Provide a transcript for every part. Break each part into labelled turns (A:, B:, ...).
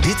A: Dit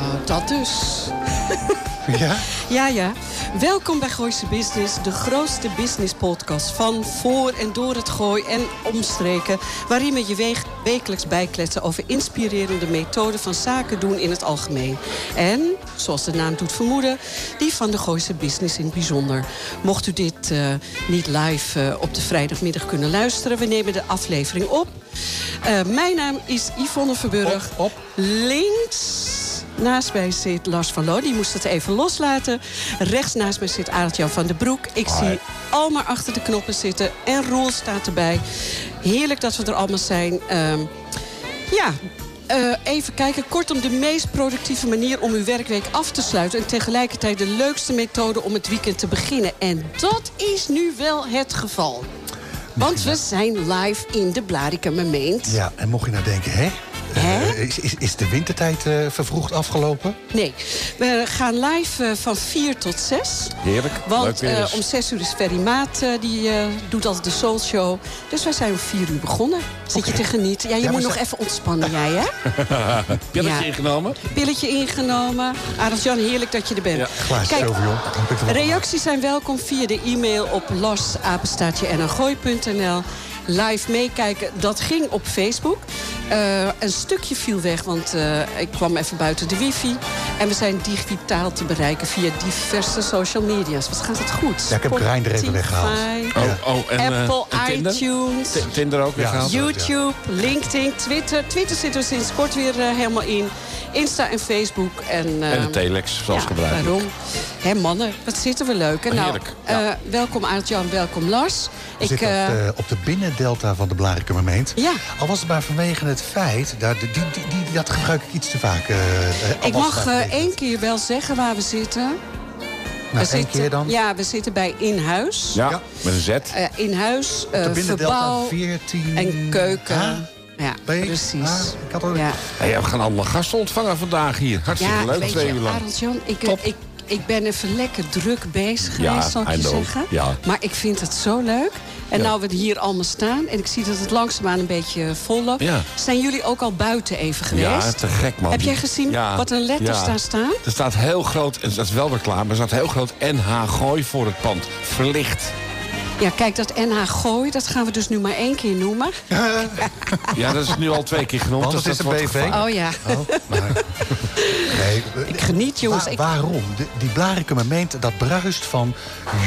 B: dat dus.
C: Ja?
B: Ja, ja. Welkom bij Gooise Business, de grootste business podcast van voor en door het gooi en omstreken. Waarin we je weeg- wekelijks bijkletsen over inspirerende methoden van zaken doen in het algemeen. En, zoals de naam doet vermoeden, die van de Gooise Business in het bijzonder. Mocht u dit eh, niet live eh, op de vrijdagmiddag kunnen luisteren, we nemen de aflevering op. Eh, mijn naam is Yvonne Verburg.
C: Op, op.
B: Links naast mij zit Lars van Loon. Die moest het even loslaten. Rechts naast mij zit Aartjan van den Broek. Ik zie Alma achter de knoppen zitten. En Roel staat erbij. Heerlijk dat we er allemaal zijn. Ehm, ja, eh, even kijken. Kortom, de meest productieve manier om uw werkweek af te sluiten. En tegelijkertijd de leukste methode om het weekend te beginnen. En dat is nu wel het geval. Want we zijn live in de Blarikermeent.
C: Ja, en mocht je nou denken, hè?
B: Hè?
C: Eh, is, is, is de wintertijd eh, vervroegd afgelopen?
B: Nee, we gaan live eh, van 4 tot 6.
D: Heerlijk, leuk
B: Want
D: weer dus.
B: eh,
D: eens.
B: om 6 uur is Ferry Maat, eh, die eh, doet altijd de Soul Show. Dus wij zijn om 4 uur begonnen. Zit je te genieten? Ja, je
C: Ja,
B: moet
C: we
B: nog
C: zijn-
B: even ontspannen, jij hè?
D: Pilletje
B: Ja.
D: ingenomen.
B: Pilletje ingenomen. Arend Jan, heerlijk dat je er bent.
D: Ja,
C: Glaasje
B: Kijk,
C: Sauvignon. Heb ik er wel-
B: Reacties zijn welkom via de e-mail op larsapenstaatje.nl. Live meekijken, dat ging op Facebook. Eh, een stukje viel weg, want eh, ik kwam even buiten de wifi. En we zijn digitaal te bereiken via diverse social media's. Wat gaat het goed?
C: Ja, ik heb Grindr even
B: Spotify,
C: weggehaald.
D: Oh, oh, en, eh,
B: Apple,
D: en Tinder?
B: iTunes.
D: T- Tinder ook weer
C: Ja.
D: gehaald.
C: You-
B: YouTube, LinkedIn, Twitter. Twitter zit er sinds kort weer eh, helemaal in. Insta en Facebook. En, eh,
D: En de telex, zoals
B: ja,
D: gebruikt.
B: Waarom? Hé mannen, wat zitten we leuk. hè? Nou,
D: Heerlijk, ja.
B: eh, welkom Aart-Jan, welkom Lars.
C: We zitten
B: eh,
C: op, de, op de binnendelta van de Blarikermeent.
B: Ja.
C: Al was het maar vanwege het feit, daar, die, die, die- dat gebruik ik iets te vaak. eh, eh, al
B: ik
C: was het
B: mag
C: maar
B: eh,
C: vanwege-
B: één keer wel zeggen waar we zitten.
C: Nou,
B: we
C: één
B: zitten,
C: keer dan.
B: Ja, we zitten bij In Huis.
D: Ja,
C: Ja.
D: met een Z.
B: Eh, in Huis, eh,
C: de binnendelta
B: verbouw
C: 14...
B: en keuken. ja,
C: B,
B: precies.
C: A, ik had al-
B: ja.
D: Hey, we gaan allemaal gasten ontvangen vandaag hier. Hartstikke
B: Ja,
D: leuk,
B: weet
D: twee
B: je,
D: uur lang.
B: Arend-Jan, ik,
D: Top.
B: ik, ik ben even lekker druk bezig
D: Ja,
B: geweest, zal ik
D: I
B: je
D: know.
B: zeggen.
D: Ja.
B: Maar ik vind het zo leuk. En nou we hier allemaal staan en ik zie dat het langzaamaan een beetje vol loopt.
D: Ja.
B: Zijn jullie ook al buiten even geweest?
D: Ja, eh, te gek man.
B: Heb jij gezien
D: Ja,
B: wat een letters
D: ja.
B: daar staan?
D: Er staat heel groot, en dat is wel weer klaar, maar er staat heel groot NH Gooi voor het pand. Verlicht.
B: Ja, kijk, dat NH Gooi, dat gaan we dus nu maar één keer noemen.
D: Ja, dat is nu al twee keer genoemd.
C: Want
D: dus
C: het is
D: dat
C: een
D: wordt
C: BV.
D: gevangen.
B: Oh ja.
C: Oh, maar- nee, eh,
B: Ik geniet, jongens.
C: Wa-
B: Ik-
C: waarom? De- die Blarikermeent, dat bruist van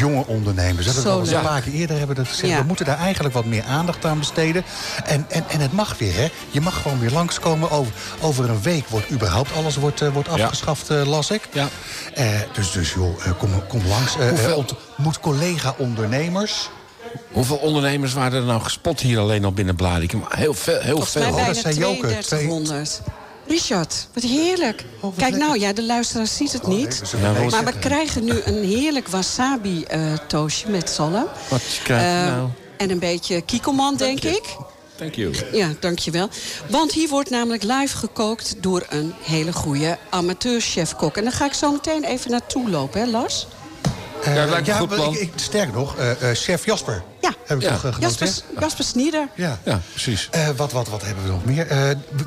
C: jonge ondernemers. Dat hebben we
B: Zo
C: al eens
B: leuk.
C: een paar keer eerder hebben we dat gezegd.
B: Ja.
C: We moeten daar eigenlijk wat meer aandacht aan besteden. En, en, en het mag weer, hè? Je mag gewoon weer langskomen. Over, over een week wordt überhaupt alles wordt, eh, wordt
D: Ja.
C: afgeschaft, eh, las ik.
D: Ja.
C: Eh, dus, dus joh, eh, kom, kom langs. Eh,
D: Hoeveel-
C: eh, ontmoet collega-ondernemers.
D: Hoeveel ondernemers waren er nou gespot hier alleen al binnen Blarikum? Heel veel. Heel
B: Volgens mij
D: veel. Oh,
C: bij-
B: bijna
C: dat zijn joker, twee-
B: 3200. Richard, wat heerlijk.
C: Oh, wat
B: Kijk nou,
C: lekker. Oh,
B: ja, de luisteraar ziet het niet.
C: we zullen
D: Ja,
C: mee
D: we-
B: Maar we
C: zeggen.
B: krijgen nu een heerlijk wasabi-toosje met zalm.
D: Wat krijg je
B: Eh,
D: nou?
B: En een beetje kikkelman, denk ik.
D: Thank you.
B: Ja, dankjewel. Want hier wordt namelijk live gekookt door een hele goede amateurchef-kok. En daar ga ik zo meteen even naartoe lopen, hè Lars?
C: Eh,
D: Ja, dat lijkt me een goed
C: maar
D: plan.
C: Ik, ik- sterker nog, eh, eh, chef Jasper.
B: Ja.
C: Heb ik
D: Ja.
C: toch eh, genoteerd?
B: Jasper, Jasper Snieder.
C: Ja.
D: Ja, precies.
C: Eh, wat, wat, wat hebben we nog meer? Eh,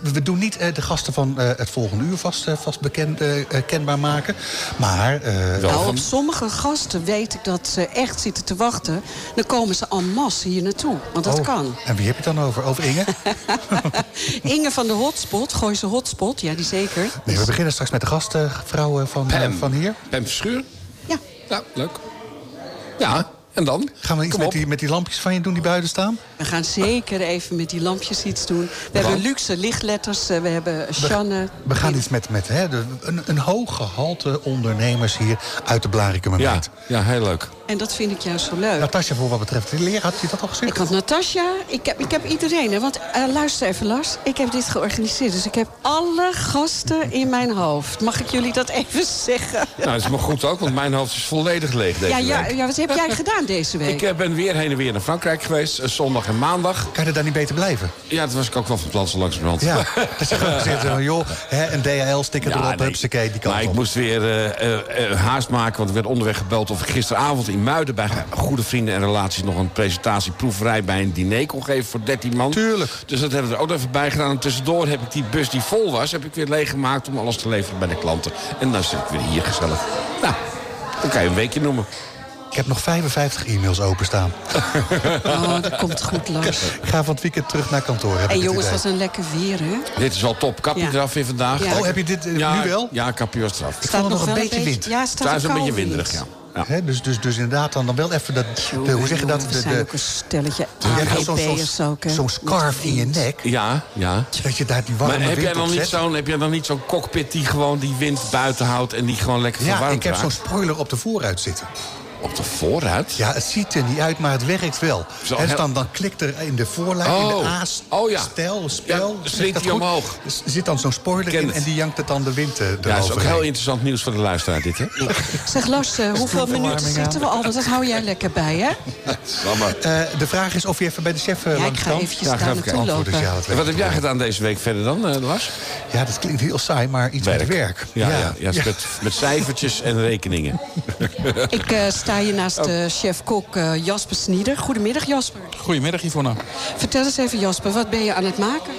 C: we, we doen niet eh, de gasten van eh, het volgende uur vast, eh, vast bekend, eh, eh, kenbaar maken. Maar eh,
D: Wel
B: Nou,
D: van-
B: op sommige gasten weet ik dat ze echt zitten te wachten. Dan komen ze en masse hier naartoe, want dat
C: oh,
B: kan.
C: En wie heb je het dan over? Over Inge?
B: Inge van de Hotspot, Gooise Hotspot, ja die zeker.
C: Nee, we beginnen straks met de gastvrouw van, eh,
D: Pam.
C: van hier.
D: Pam Verschuur?
B: Ja,
D: Ja, leuk. Ja, en dan?
C: Gaan we iets
D: Kom
C: met
D: op.
C: die, met die lampjes van je doen die buiten staan?
B: We gaan zeker even met die lampjes iets doen. We hebben luxe lichtletters, eh, we hebben Shanne.
C: We gaan iets met, met hè, de- een, een hoog gehalte ondernemers hier uit de
D: Ja,
C: Blaricummermeid.
D: ja, heel leuk.
B: En dat vind ik juist zo leuk.
C: Natasja, voor wat betreft de leer, had je dat al gezegd?
B: Ik had Natasja, ik heb, ik heb iedereen. Hè? Want eh, luister even, Lars. Ik heb dit georganiseerd. Dus ik heb alle gasten in mijn hoofd. Mag ik jullie dat even zeggen?
D: Nou, dat is maar goed ook, want mijn hoofd is volledig leeg deze
B: Ja, ja,
D: week.
B: ja, wat heb jij gedaan deze week?
D: Ik eh, ben weer heen en weer naar Frankrijk geweest, eh, zondag en maandag.
C: Kan je daar niet beter blijven?
D: Ja, dat was ik ook wel van plan zo langzamerhand.
C: Ja, dat je gewoon zegt, van, joh, hè, een DHL-sticker
D: Ja,
C: erop,
D: nee.
C: hupsakee, die
D: maar
C: kant
D: ik
C: op.
D: moest weer eh, eh, eh, haast maken, want ik werd onderweg gebeld... of ik gisteravond in Muiden bij goede vrienden en relaties... nog een presentatieproeverij bij een diner kon geven voor 13 man.
C: Tuurlijk.
D: Dus dat hebben we er ook even bij gedaan. En tussendoor heb ik die bus die vol was, heb ik weer leeggemaakt... om alles te leveren bij de klanten. En dan zit ik weer hier gezellig. Nou, dan kan je een weekje noemen.
C: Ik heb nog 55 e-mails openstaan.
B: Oh, dat komt goed, Lars.
C: Ik ga van het weekend terug naar kantoor. Heb
B: En
C: ik het
B: jongens,
C: idee.
B: wat een lekker weer, hè?
D: Dit is wel top. Kappie
B: Ja.
D: eraf weer vandaag.
B: Ja.
C: Oh, heb je dit eh,
D: Ja,
C: nu wel?
D: Ja, kappie was eraf.
C: Ik vond het nog een beetje wind.
B: Ja, staat
D: Daar is een
B: koude
D: beetje
B: wind.
D: winderig, ja. ja.
C: Hè, dus, dus, dus inderdaad dan, dan wel even dat... de- hoe zeg je dat?
B: We
C: De,
B: Oh, zijn
C: de,
B: ook een stelletje
C: je hebt wel zo'n-
B: AGB'ers
C: zo'n
B: ook, hè?
C: zo'n scarf in je nek.
D: Ja, ja.
C: Dat je daar die warme
D: Maar
C: wind
D: heb jij, dan
C: op
D: niet
C: zet.
D: zo'n, heb jij dan niet zo'n cockpit die gewoon die wind buiten houdt... en die gewoon lekker
C: Ja,
D: verwarmd
C: ik heb zo'n
D: raakt?
C: spoiler op de vooruit zitten.
D: Op de vooruit?
C: Ja, het ziet er niet uit, maar het werkt wel.
D: Zo,
C: Hè, dus
D: heel-
C: dan, dan klikt er in de voorlijn, in
D: Oh.
C: de aas,
D: Oh, ja.
C: stijl, spel.
D: Ja,
C: Zeg
D: slinkt
C: dat
D: hij
C: goed?
D: omhoog.
C: Er zit dan zo'n spoiler
D: Ken
C: in
D: het.
C: en die jankt het dan de wind eh,
D: Ja, dat is ook heel
C: eroverheen.
D: interessant nieuws voor de luisteraar, dit, hè?
B: Zeg, Lars, eh, hoeveel minuten
C: aan.
B: zitten we al? Want dat hou jij lekker bij, hè?
C: Eh, de vraag is of je even bij de chef eh,
B: Ja, ik
C: langs
B: ga
C: kan.
B: eventjes
D: Ja, ga
B: daar
D: even
B: naartoe
C: Antwoord is ja,
B: lopen.
C: dat
D: En wat
C: werkt.
D: heb jij gedaan deze week verder dan, eh, Lars?
C: Ja, dat klinkt heel saai, maar iets met werk.
D: Ja, ja, ja, Met, met cijfertjes en rekeningen.
B: Ik eh, sta hier naast eh, chef-kok eh, Jasper Snieder. Goedemiddag, Jasper.
E: Goedemiddag Yvonne.
B: Vertel eens even, Jasper, wat ben je aan het maken?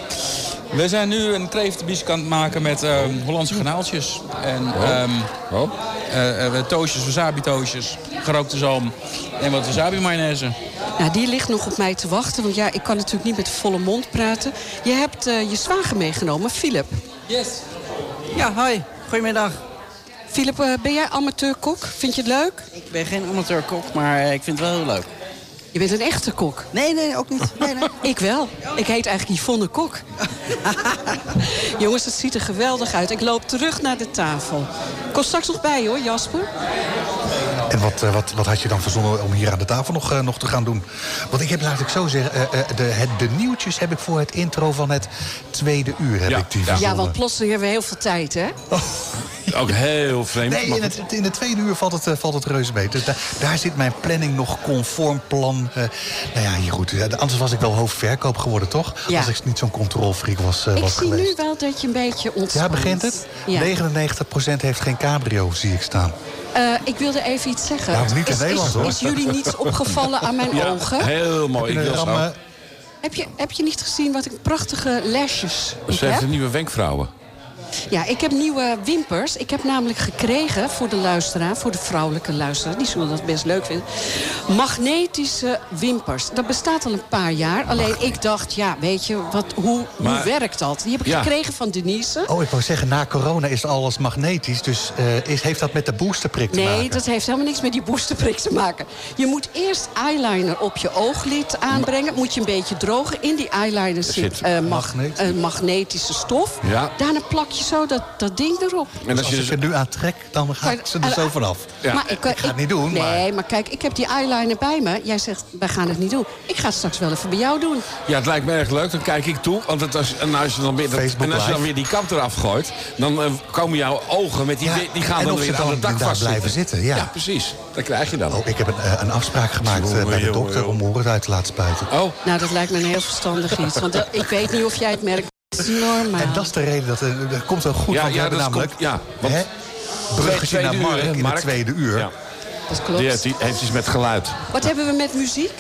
E: We zijn nu een kreeftenbiesje aan het maken met ehm, Hollandse granaaltjes. En ehm
D: Oh?
E: eh, eh, toosjes, wasabi toosjes, gerookte zalm en wat wasabi mayonaise.
B: Nou, die ligt nog op mij te wachten, want ja, ik kan natuurlijk niet met volle mond praten. Je hebt eh, je zwager meegenomen, Philip.
E: Yes.
F: Ja, hoi. Goedemiddag.
B: Philip, eh, ben jij amateur-kok? Vind je het leuk?
F: Ik ben geen amateurkok, maar eh, ik vind het wel heel leuk.
B: Je bent een echte kok.
F: Nee, nee, ook niet. Nee, nee.
B: Ik wel. Ik heet eigenlijk Yvonne Kok. Jongens, het ziet er geweldig uit. Ik loop terug naar de tafel. Kom straks nog bij hoor, Jasper.
C: En wat, eh, wat, wat had je dan verzonnen om hier aan de tafel nog, eh, nog te gaan doen? Want ik heb, laat ik zo zeggen, eh, eh, de, het, de nieuwtjes heb ik voor het intro van het tweede uur. Heb
D: Ja,
C: ik die
D: ja.
C: verzonnen.
B: Ja, want plotseling hebben we heel veel tijd, hè?
D: Ook heel vreemd.
C: Nee,
D: maar
C: in, het, in de tweede uur valt het, eh, valt het reuze mee. Dus da- daar zit mijn planning nog conform plan. eh, nou ja, hier goed. Ja, anders was ik wel hoofdverkoop geworden, toch?
B: Ja.
C: Als ik niet zo'n controlfreak was, eh,
B: Ik
C: was
B: zie
C: geweest.
B: nu wel dat je een beetje ontspant.
C: Ja, begint het?
B: Ja.
C: 99% heeft geen cabrio, zie ik staan.
D: Oh,
B: Eh, ik wilde even iets zeggen.
C: Nou, niet in
B: is, is-
C: Nederland, hoor.
B: Is jullie niets opgevallen aan mijn
D: ja,
B: ogen?
D: heel mooi. Ik
C: Eh,
D: wil
C: Ram,
D: zo.
C: eh,
B: Heb je, heb je niet gezien wat een prachtige lashes ik
D: Ze heeft een
B: heb?
D: nieuwe wenkvrouwen.
B: Ja, ik heb nieuwe wimpers. Ik heb namelijk gekregen voor de luisteraar, voor de vrouwelijke luisteraar. Die zullen dat best leuk vinden. Magnetische wimpers. Dat bestaat al een paar jaar. Alleen ik dacht, ja, weet je, wat, hoe,
D: Maar-
B: hoe werkt dat? Die heb ik
D: Ja.
B: gekregen van Denise.
C: oh, ik wou zeggen, na corona is alles magnetisch. Dus eh, is, heeft dat met de boosterprik te
B: Nee,
C: maken?
B: dat heeft helemaal niks met die boosterprik te maken. Je moet eerst eyeliner op je ooglid aanbrengen. Moet je een beetje drogen. In die eyeliner zit
D: zit
B: eh, mag-
C: magneet.
B: een magnetische stof.
D: Ja.
B: Daarna plak je zo dat, dat ding erop.
D: En als
C: Als
D: je
C: ik
D: dus
C: ze nu aantrek, dan ga ik ze er zo vanaf.
D: Ja.
B: ik,
C: Ik ga het niet doen, maar-
B: Nee, maar... kijk, ik heb die eyeliner bij me. Jij zegt, wij gaan het niet doen. Ik ga het straks wel even bij jou doen.
D: Ja, het lijkt me erg leuk. Dan kijk ik toe. Want het was, en als je dan weer, dat-
C: Facebook
D: en als je dan
C: Live.
D: weer die kant eraf gooit... dan eh, komen jouw ogen met die...
C: Ja,
D: die gaan
C: en
D: dan
C: of ze
D: weer aan
C: dan
D: het dak
C: inderdaad
D: vast
C: blijven zitten, ja.
D: precies. Dat krijg je dan.
C: Oh, ik heb een, eh, een afspraak gemaakt eh,
D: Jongen,
C: bij de
D: jongen,
C: dokter om
D: jongen.
C: mijn horen uit te laten spuiten.
D: Oh,
B: Nou, dat lijkt me een heel verstandig iets. Want dat- ik weet niet of jij het merkt. Het is normaal.
C: En dat is de reden dat eh, dat komt wel goed.
D: Ja,
C: want we
D: ja,
C: hebben
D: dat
C: namelijk
D: komt- ja, want-
C: hè, bruggetje
D: Tweede
C: naar
D: uur,
C: Mark
D: hè,
C: in
D: Mark.
C: het tweede uur.
D: ja.
B: Dat
D: Die
B: klopt.
D: heeft, die heeft iets met geluid.
B: Wat hebben we met muziek?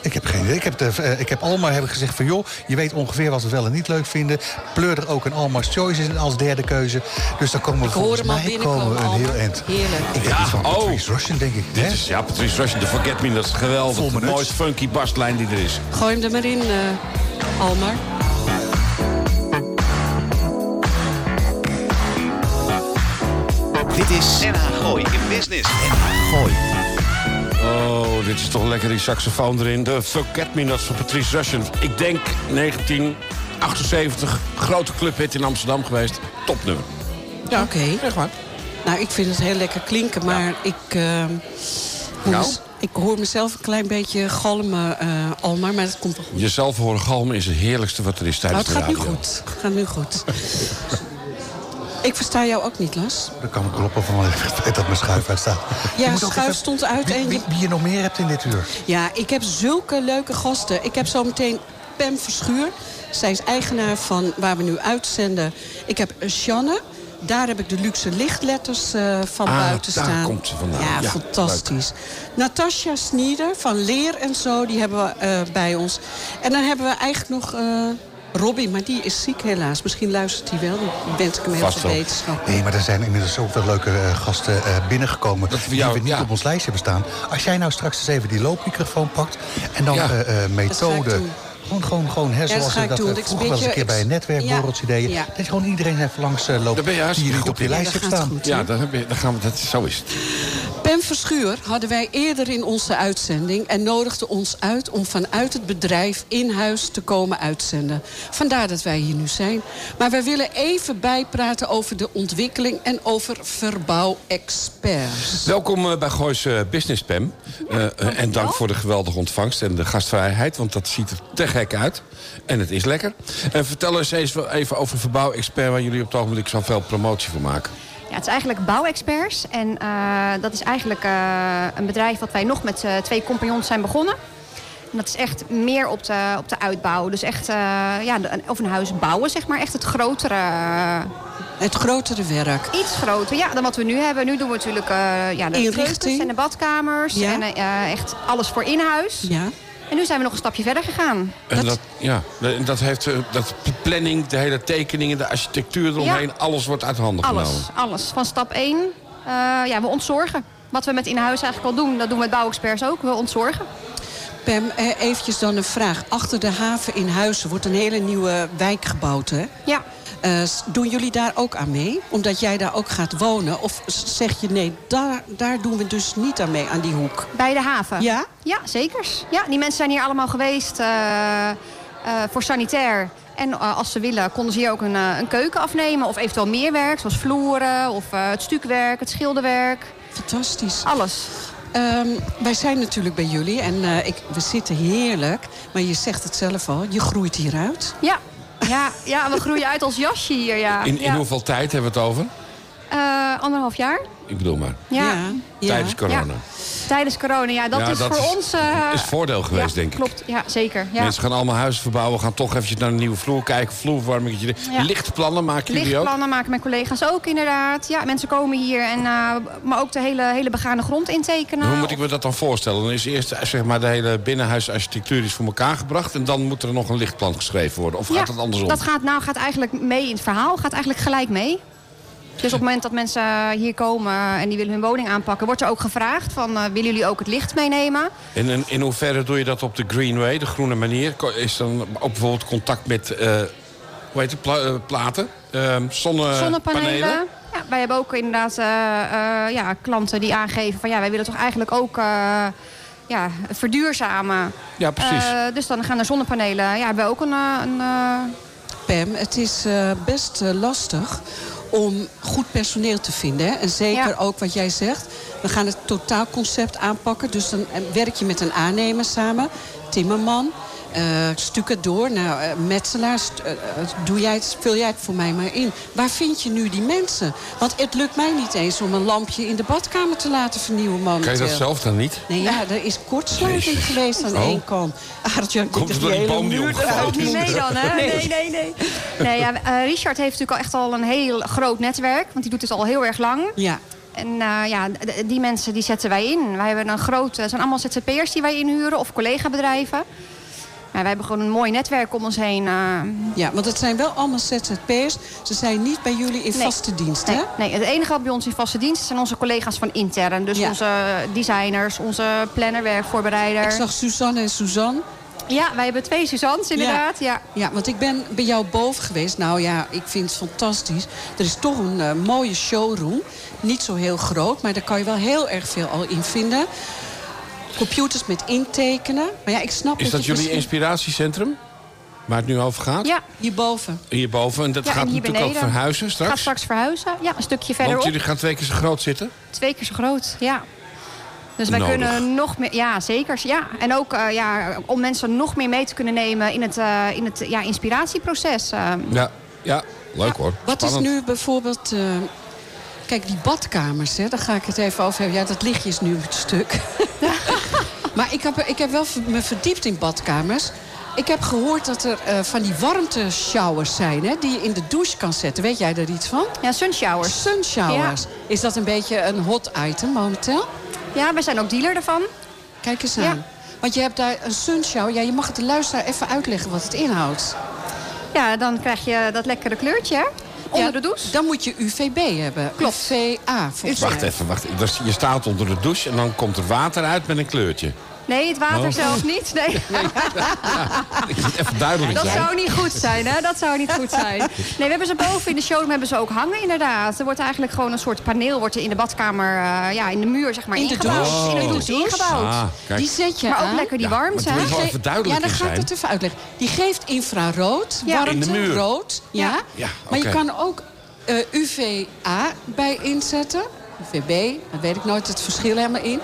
C: Ik heb geen idee. Ik heb, de, eh, ik heb Almar hebben gezegd van joh, je weet ongeveer wat we wel en niet leuk vinden. Pleur er ook een Almar's Choice in als derde keuze. Dus dan komen we
B: hoor
C: volgens
B: hem al
C: mij
B: binnenkomen,
C: komen we een heel
B: Almar.
C: eind.
B: Heerlijk.
C: Ik heb
D: Ja,
C: iets van
D: oh.
C: Patrice Russian, denk ik.
D: Dit
C: Hè?
D: is, ja, Patrice Russian, de Forget Me, dat is
C: Vol
D: geweldig.
C: me
D: De
C: nuts.
D: mooiste funky baslijn die er is.
B: Gooi hem er maar in, eh, Almar.
A: Dit is NH Gooi in Business. NH Gooi.
D: Oh, Oh, dit is toch lekker die saxofoon erin. De Forget Me Nots van Patrice Russian. Ik denk 1978. Grote clubhit in Amsterdam geweest. Topnummer.
B: Ja, oké.
D: Echt waar.
B: Nou, ik vind het heel lekker klinken, maar ik, eh, hoor
D: Nou?
B: mez- ik hoor mezelf een klein beetje galmen, eh al maar, maar dat komt wel goed.
D: Jezelf horen galmen is het heerlijkste wat er is
B: Maar
D: tijdens
B: Nou, het
D: de
B: gaat nu
D: radio.
B: goed. Het gaat nu goed. ik versta jou ook niet, Lars.
C: Dat kan kloppen van het feit dat mijn schuif uit staat. Je
B: Ja,
C: moet ook
B: schuif
C: even-
B: stond uit
C: Wie,
B: en je
C: wie, wie je nog meer hebt in dit uur?
B: Ja, ik heb zulke leuke gasten. Ik heb zometeen Pam Verschuur. Zij is eigenaar van waar we nu uitzenden. Ik heb Shanne. Daar heb ik de luxe lichtletters eh, van
D: Ah,
B: buiten
D: daar
B: staan.
D: komt ze vandaan.
B: Ja,
D: Ja,
B: fantastisch. Natasja Snieder van Leer en zo, die hebben we eh, bij ons. En dan hebben we eigenlijk nog eh Robbie, maar die is ziek helaas. Misschien luistert hij wel, dan wens ik hem heel
D: Vast
B: veel
D: wel.
B: wetenschap.
C: Nee, maar er zijn inmiddels zoveel leuke eh, gasten eh, binnengekomen...
D: voor
C: die
D: jou-
C: we niet
D: ja.
C: op ons lijstje hebben staan. Als jij nou straks eens even die loopmicrofoon pakt... en dan
D: Ja.
C: eh eh, methode...
B: doen.
C: Gewoon, gewoon, gewoon hè,
B: dat
C: zoals
B: ga
C: we
B: ik
C: dat
B: doen.
C: eh,
B: Ik
C: vroeger wel eens een
B: beetje-
C: keer bij
B: ik-
C: een netwerkwerkborreltje
B: ja,
C: deden.
B: ja.
C: Dat je gewoon iedereen even langs eh, loopt
D: Daar ben je
C: die
D: hartstikke
C: je niet
D: goed
C: op je
D: in.
C: lijstje
B: Ja,
C: hebt
B: dat gaat
C: staan.
B: goed.
D: Ja, dan, heb je, dan gaan we dat. Zo is het.
B: Pam Verschuur hadden wij eerder in onze uitzending... en nodigde ons uit om vanuit het bedrijf in huis te komen uitzenden. Vandaar dat wij hier nu zijn. Maar wij willen even bijpraten over de ontwikkeling... en over verbouwexperts.
D: Welkom eh, bij Goois eh, Business Pam. Eh, eh, en dank voor de geweldige ontvangst en de gastvrijheid, want dat ziet er te gek uit. En het is lekker. En vertel eens eens wel even over verbouwexpert waar jullie op het ogenblik zoveel promotie voor maken.
G: Ja, het is eigenlijk Bouwexperts. En eh, dat is eigenlijk eh, een bedrijf wat wij nog met eh, twee compagnons zijn begonnen. En dat is echt meer op de, op de uitbouw. Dus echt eh, ja, de- of een huis bouwen, zeg maar. Echt het grotere, eh,
B: Het grotere werk.
G: iets groter ja, dan wat we nu hebben. Nu doen we natuurlijk eh, ja, de
B: Inrichting.
G: keukens en de badkamers.
B: Ja.
G: En eh, echt alles voor in huis.
B: Ja,
G: En nu zijn we nog een stapje verder gegaan.
D: En
B: Dat-
D: dat, ja, en dat heeft eh, dat de planning, de hele tekeningen, de architectuur eromheen,
G: Ja.
D: alles wordt uit handen genomen.
G: Alles, alles. Van stap 1, ja, we ontzorgen. Wat we met in huis eigenlijk al doen, dat doen we met bouwexperts ook. We ontzorgen.
B: Pam, eh, eventjes dan een vraag. Achter de haven in Huizen wordt een hele nieuwe wijk gebouwd, hè?
G: Ja,
B: Eh, s- doen jullie daar ook aan mee? Omdat jij daar ook gaat wonen? Of s- zeg je nee, daar, daar doen we dus niet aan mee, aan die hoek?
G: bij de haven.
B: Ja?
G: Ja, zekers. Ja, die mensen zijn hier allemaal geweest eh, eh, voor sanitair. En eh, als ze willen, konden ze hier ook een, eh, een keuken afnemen. Of eventueel meer werk, zoals vloeren of eh, het stukwerk, het schilderwerk.
B: Fantastisch.
G: Alles.
B: Ehm, wij zijn natuurlijk bij jullie en eh, ik, we zitten heerlijk. Maar je zegt het zelf al, je groeit hieruit.
G: Ja. Ja, ja, we groeien uit als jasje hier, ja.
D: In, in
G: Ja.
D: hoeveel tijd hebben we het over?
G: Eh, anderhalf jaar.
D: Ik bedoel maar,
G: ja.
B: ja.
D: tijdens corona.
G: Tijdens corona, ja, dat
D: Ja,
G: is
D: dat
G: voor
D: is-
G: ons... eh,
D: is voordeel geweest,
G: ja,
D: denk ik.
G: Klopt, ja, zeker. Ja.
D: Mensen gaan allemaal huizen verbouwen, gaan toch eventjes naar een nieuwe vloer kijken, vloerverwarming.
G: Ja.
D: Lichtplannen maken jullie ook?
G: Lichtplannen maken mijn collega's ook inderdaad. Ja, mensen komen hier, en, eh, maar ook de hele, hele begane grond intekenen.
D: Hoe moet ik me dat dan voorstellen? Dan is eerst eh, zeg maar, de hele binnenhuisarchitectuur is voor elkaar gebracht... en dan moet er nog een lichtplan geschreven worden. Of
G: ja,
D: gaat dat andersom?
G: Dat gaat, nou, gaat eigenlijk mee in het verhaal, gaat eigenlijk gelijk mee. Dus op het moment dat mensen hier komen en die willen hun woning aanpakken... wordt er ook gevraagd van, eh, willen jullie ook het licht meenemen?
D: En in, in hoeverre doe je dat op de greenway, de groene manier? Ko- Is dan ook bijvoorbeeld contact met, eh, hoe heet het, pla- eh, platen? Ehm, zonne-
G: Zonnepanelen.
D: panelen?
G: Ja, wij hebben ook inderdaad eh, eh, ja, klanten die aangeven van... ja, wij willen toch eigenlijk ook eh, ja, verduurzamen.
D: Ja, precies.
G: Eh, dus dan gaan er zonnepanelen. Ja, hebben we ook een... eh, een eh,
B: Pam, het is eh, best eh, lastig om goed personeel te vinden. Hè? En zeker
G: Ja.
B: ook wat jij zegt. We gaan het totaalconcept aanpakken. Dus dan eh, werk je met een aannemer samen. Timmerman, eh stukken door. Nou, eh, metselaar, st- eh, eh, doe jij het, vul jij het voor mij maar in. Waar vind je nu die mensen? Want het lukt mij niet eens om een lampje in de badkamer te laten vernieuwen
D: Kan
B: momenteel.
D: je dat zelf dan niet?
B: Nee, ja, er is kortsluiting
D: Jezus.
B: geweest aan
D: Oh.
B: één kant. Aardjan,
D: Komt het door die boom die omgevallen
G: Ook niet mee dan, hè? Nee, nee, nee. nee ja, eh, Richard heeft natuurlijk al echt al een heel groot netwerk. Want die doet dit al heel erg lang.
B: Ja,
G: En eh, ja, d- d- die mensen die zetten wij in. Wij hebben een groot, het zijn allemaal ZZP'ers die wij inhuren of collega-bedrijven. Ja, wij hebben gewoon een mooi netwerk om ons heen. eh.
B: Ja, want het zijn wel allemaal ZZP'ers. Ze zijn niet bij jullie in
G: Nee.
B: vaste dienst,
G: nee,
B: hè?
G: nee, het enige wat bij ons in vaste dienst is, zijn onze collega's van intern. Dus
B: Ja.
G: onze designers, onze planner, werkvoorbereider.
B: Ik zag Suzanne en Suzanne.
G: Ja, wij hebben twee Suzannes inderdaad. Ja.
B: Ja, want ik ben bij jou boven geweest. Nou ja, ik vind het fantastisch. Er is toch een eh, mooie showroom. Niet zo heel groot, maar daar kan je wel heel erg veel al in vinden. computers met intekenen. Maar ja, ik snap
D: Is
B: het
D: dat jullie
B: misschien-
D: inspiratiecentrum? Waar het nu over gaat?
G: Ja,
B: Hierboven.
D: Hierboven. En dat
G: ja
D: gaat
G: en hier
D: natuurlijk
G: beneden.
D: ook verhuizen straks.
G: Gaat straks verhuizen. Ja, een stukje
D: Want
G: verderop.
D: jullie gaan twee keer zo groot zitten.
G: Twee keer zo groot, ja. Dus wij
D: Nodig.
G: kunnen nog meer, ja zeker. Ja. En ook eh, ja, om mensen nog meer mee te kunnen nemen in het, eh, in het ja, inspiratieproces. eh.
D: Ja, ja leuk hoor.
B: Wat is
D: Spannend.
B: nu bijvoorbeeld... eh, kijk, die badkamers, hè, daar ga ik het even over hebben. Ja, dat lichtje is nu het stuk. maar ik heb, ik heb wel ver- me verdiept in badkamers. Ik heb gehoord dat er eh, van die warmte-showers zijn... Hè, die je in de douche kan zetten. Weet jij daar iets van?
G: Ja, sunshowers.
B: Sunshowers. Is dat een beetje een hot item momenteel?
G: Ja, wij zijn ook dealer daarvan.
B: Kijk eens aan.
G: Ja.
B: Want je hebt daar een sunshower. Ja, je mag het de luisteraar even uitleggen wat het inhoudt.
G: Ja, dan krijg je dat lekkere kleurtje hè? onder
B: Ja,
G: de douche.
B: Dan moet je UVB hebben.
G: Klopt.
B: UVA, volgens
D: Wacht
B: mij.
D: even, wacht. even. Dus je staat onder de douche en dan komt er water uit met een kleurtje.
G: Nee, het
D: Oh.
G: water zelf niet. Nee.
D: Ik moet even duidelijk
G: Dat
D: zijn.
G: zou niet goed zijn, hè? Dat zou niet goed zijn. Nee, we hebben ze boven in de showroom hebben ze ook hangen, inderdaad. Er wordt eigenlijk gewoon een soort paneel wordt er in de badkamer, eh, ja, in de muur, zeg maar,
B: In de
G: ingebouwd.
B: douche.
G: In
B: Oh.
G: de douche ingebouwd.
D: Ah, kijk.
B: Die zet je
G: Maar ook
B: aan.
G: lekker die warmte,
D: maar
G: hè?
D: het moet wel even duidelijk
B: ja, dan
D: in
B: ga ik
D: zijn.
B: het even uitleggen. Die geeft infrarood,
G: Ja.
B: warmte,
D: In de muur.
B: rood. Ja.
G: Ja.
D: Ja,
B: Maar je
D: oké.
B: kan ook eh, UVA bij inzetten. UVB, daar weet ik nooit het verschil helemaal in.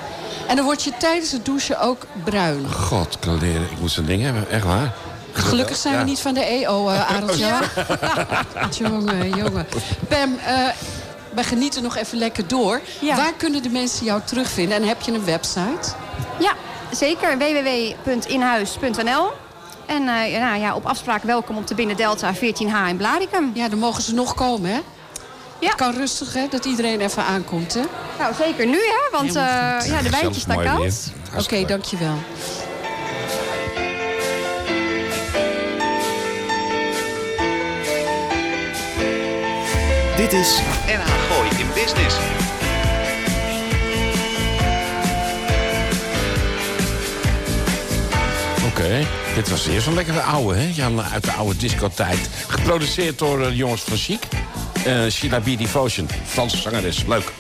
B: En dan word je tijdens het douchen ook bruin.
D: God, kan leren. Ik moet zo'n ding hebben, echt waar.
B: Gelukkig zijn
D: Ja.
B: we niet van de EO, eh Arendsjo. jongen, jongen. Pam, eh we genieten nog even lekker door.
G: Ja.
B: Waar kunnen de mensen jou terugvinden? En heb je een website?
G: Ja, zeker. www.inhuis.nl. En eh, nou, ja, op afspraak welkom op de Binnen Delta 14H in Blarikum.
B: Ja, dan mogen ze nog komen, hè?
G: Ja.
B: Het kan rustig, hè, dat iedereen even aankomt, hè?
G: Nou, zeker nu, hè? Want
B: Helemaal
G: eh, ja, de wijntjes staan
D: Mooi weer.
G: koud.
D: Hartstikke
B: Oké,
D: leuk.
B: dankjewel.
A: Dit is NH Gooi in Business.
D: Oké, dit was eerst een lekkere oude, hè? Jan eh, uit de oude discotijd. Geproduceerd door eh, de jongens van Chic. Eh Sheila B. Devotion, Franse zangeres. Leuk.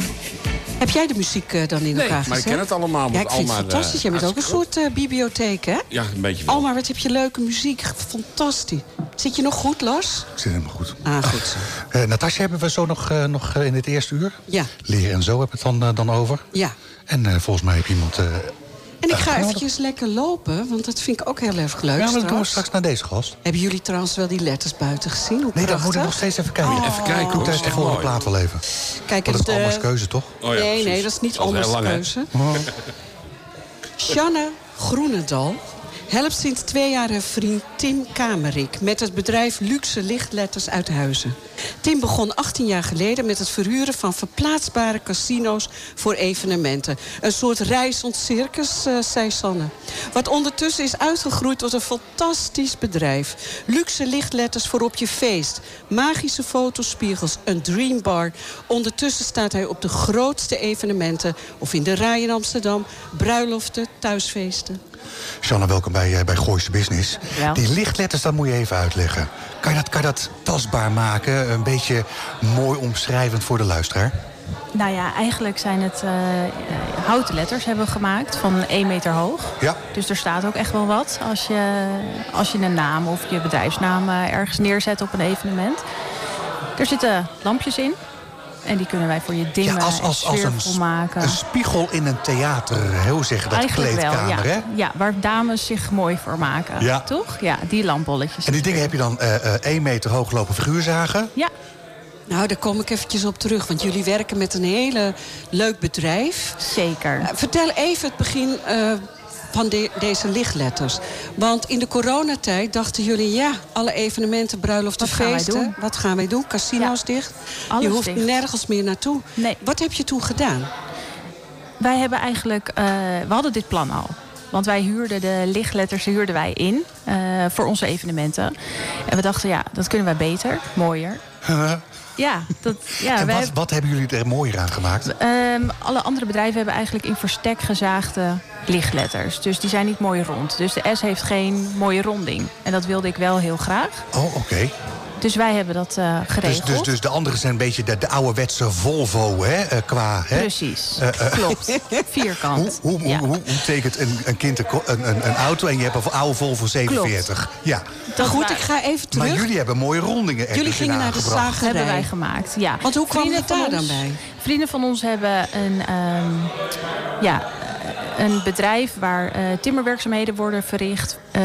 B: Heb jij de muziek eh, dan in
D: Nee,
B: elkaar
D: maar ik
B: gezet?
D: ken het allemaal, want
B: Ja, ik vind het
D: Alma, eh,
B: fantastisch. Jij bent ook een
D: hartstikke
B: soort eh, bibliotheek, hè?
D: Ja, een beetje wel.
B: Alma, wat heb je leuke muziek. Fantastisch. Zit je nog goed, Lars?
C: Ik zit helemaal goed.
B: Ah, goed zo.
C: Eh Natasja hebben we zo nog, eh, nog eh, in het eerste uur.
B: Ja.
C: Leer en zo heb het dan, eh, dan over.
B: Ja.
C: En eh, volgens mij heb iemand... eh,
B: En ik ga
C: uitgenodigd.
B: eventjes lekker lopen, want dat vind ik ook heel erg leuk
C: Ja, maar dat doen we
B: straks.
C: straks naar deze gast.
B: Hebben jullie trouwens wel die letters buiten gezien? Hoe
C: Nee, dat
B: prachtig?
C: moet ik nog steeds even kijken.
H: Oh.
D: Even kijken, hoor.
C: Goed,
D: Dat
C: daar
D: is
C: is de
D: echt
C: volgende
D: mooi.
C: plaat wel even.
B: Kijk,
C: Want
B: het,
C: dat is Alma's
B: eh,
C: keuze, toch?
D: Oh ja,
B: nee,
D: precies.
B: nee, dat is niet
D: Dat is heel
B: Alma's
D: lang, hè?
B: keuze. Shanna Groenendal helpt sinds twee jaar haar vriend Tim Kamerik... met het bedrijf Luxe Lichtletters uit Huizen. Tim begon 18 jaar geleden met het verhuren van verplaatsbare casino's voor evenementen. Een soort reizend circus, eh, zei Sanne. Wat ondertussen is uitgegroeid tot een fantastisch bedrijf. Luxe lichtletters voor op je feest. Magische fotospiegels, een dreambar. Ondertussen staat hij op de grootste evenementen... of in de rij in Amsterdam, bruiloften, thuisfeesten.
C: Shanna, welkom bij, eh, bij Gooise Business. Die lichtletters, dat moet je even uitleggen. Kan je, dat, kan je dat tastbaar maken? Een beetje mooi omschrijvend voor de luisteraar?
H: Nou ja, eigenlijk zijn het eh, eh, houten letters hebben we gemaakt van 1 meter hoog.
C: Ja.
H: Dus er staat ook echt wel wat als je, als je een naam of je bedrijfsnaam eh, ergens neerzet op een evenement. Er zitten lampjes in. En die kunnen wij voor je dimmen
C: Ja, als, als,
H: en
C: als een,
H: sfeervol maken.
C: een spiegel in een theater, hè, hoe zeggen dat?
H: Eigenlijk wel,
C: kleedkamer,
H: ja.
C: hè?
H: ja. Waar dames zich mooi voor maken.
C: Ja.
H: Toch? Ja, die lampbolletjes.
C: En die dingen heb je dan eh eh, één meter hoog lopen figuurzagen.
H: Ja,
B: Nou, daar kom ik eventjes op terug, want jullie werken met een hele leuk bedrijf.
H: zeker.
B: Eh, Vertel even het begin eh, van de- deze lichtletters. Want in de coronatijd dachten jullie... ja, alle evenementen, bruiloften,
H: Wat gaan wij
B: feesten...
H: doen?
B: wat gaan wij doen? Casino's
H: Ja.
B: dicht.
H: Alles
B: je hoeft
H: dicht.
B: nergens meer naartoe.
H: Nee.
B: Wat heb je toen gedaan?
H: Wij hebben eigenlijk, eh, we hadden dit plan al. Want wij huurden de lichtletters huurden wij in eh, voor onze evenementen. En we dachten, ja, dat kunnen wij beter, mooier. Ja, dat, ja
C: en
H: wij,
C: wat, wat hebben jullie er mooier aan gemaakt?
H: ehm, alle andere bedrijven hebben eigenlijk in verstek gezaagde lichtletters. Dus die zijn niet mooi rond. Dus de S heeft geen mooie ronding. En dat wilde ik wel heel graag.
C: Oh, oké.
H: Dus wij hebben dat eh,
C: Dus,
H: geregeld.
C: dus, dus de anderen zijn een beetje de, de ouderwetse Volvo, hè? eh, qua, hè?
H: Precies,
C: Eh, eh,
H: klopt.
C: Hoe,
H: Vierkant.
C: hoe,
H: Ja.
C: hoe, hoe, hoe tekent een, een kind een, ko- een, een, een auto en je hebt een oude Volvo 47? Ja.
H: Dat
B: Goed,
H: wa-
B: ik ga even terug.
C: Maar jullie hebben mooie rondingen er
B: Jullie
C: dus in
B: gingen naar de
C: aangebracht.
B: zaag-
H: hebben wij
B: Gerei.
H: gemaakt. Ja.
B: Want hoe kwam
H: Vrienden
B: het daar
H: van
B: dan
H: ons-
B: bij?
H: Vrienden van ons hebben een, ehm, ja, eh, een bedrijf waar eh, timmerwerkzaamheden worden verricht eh,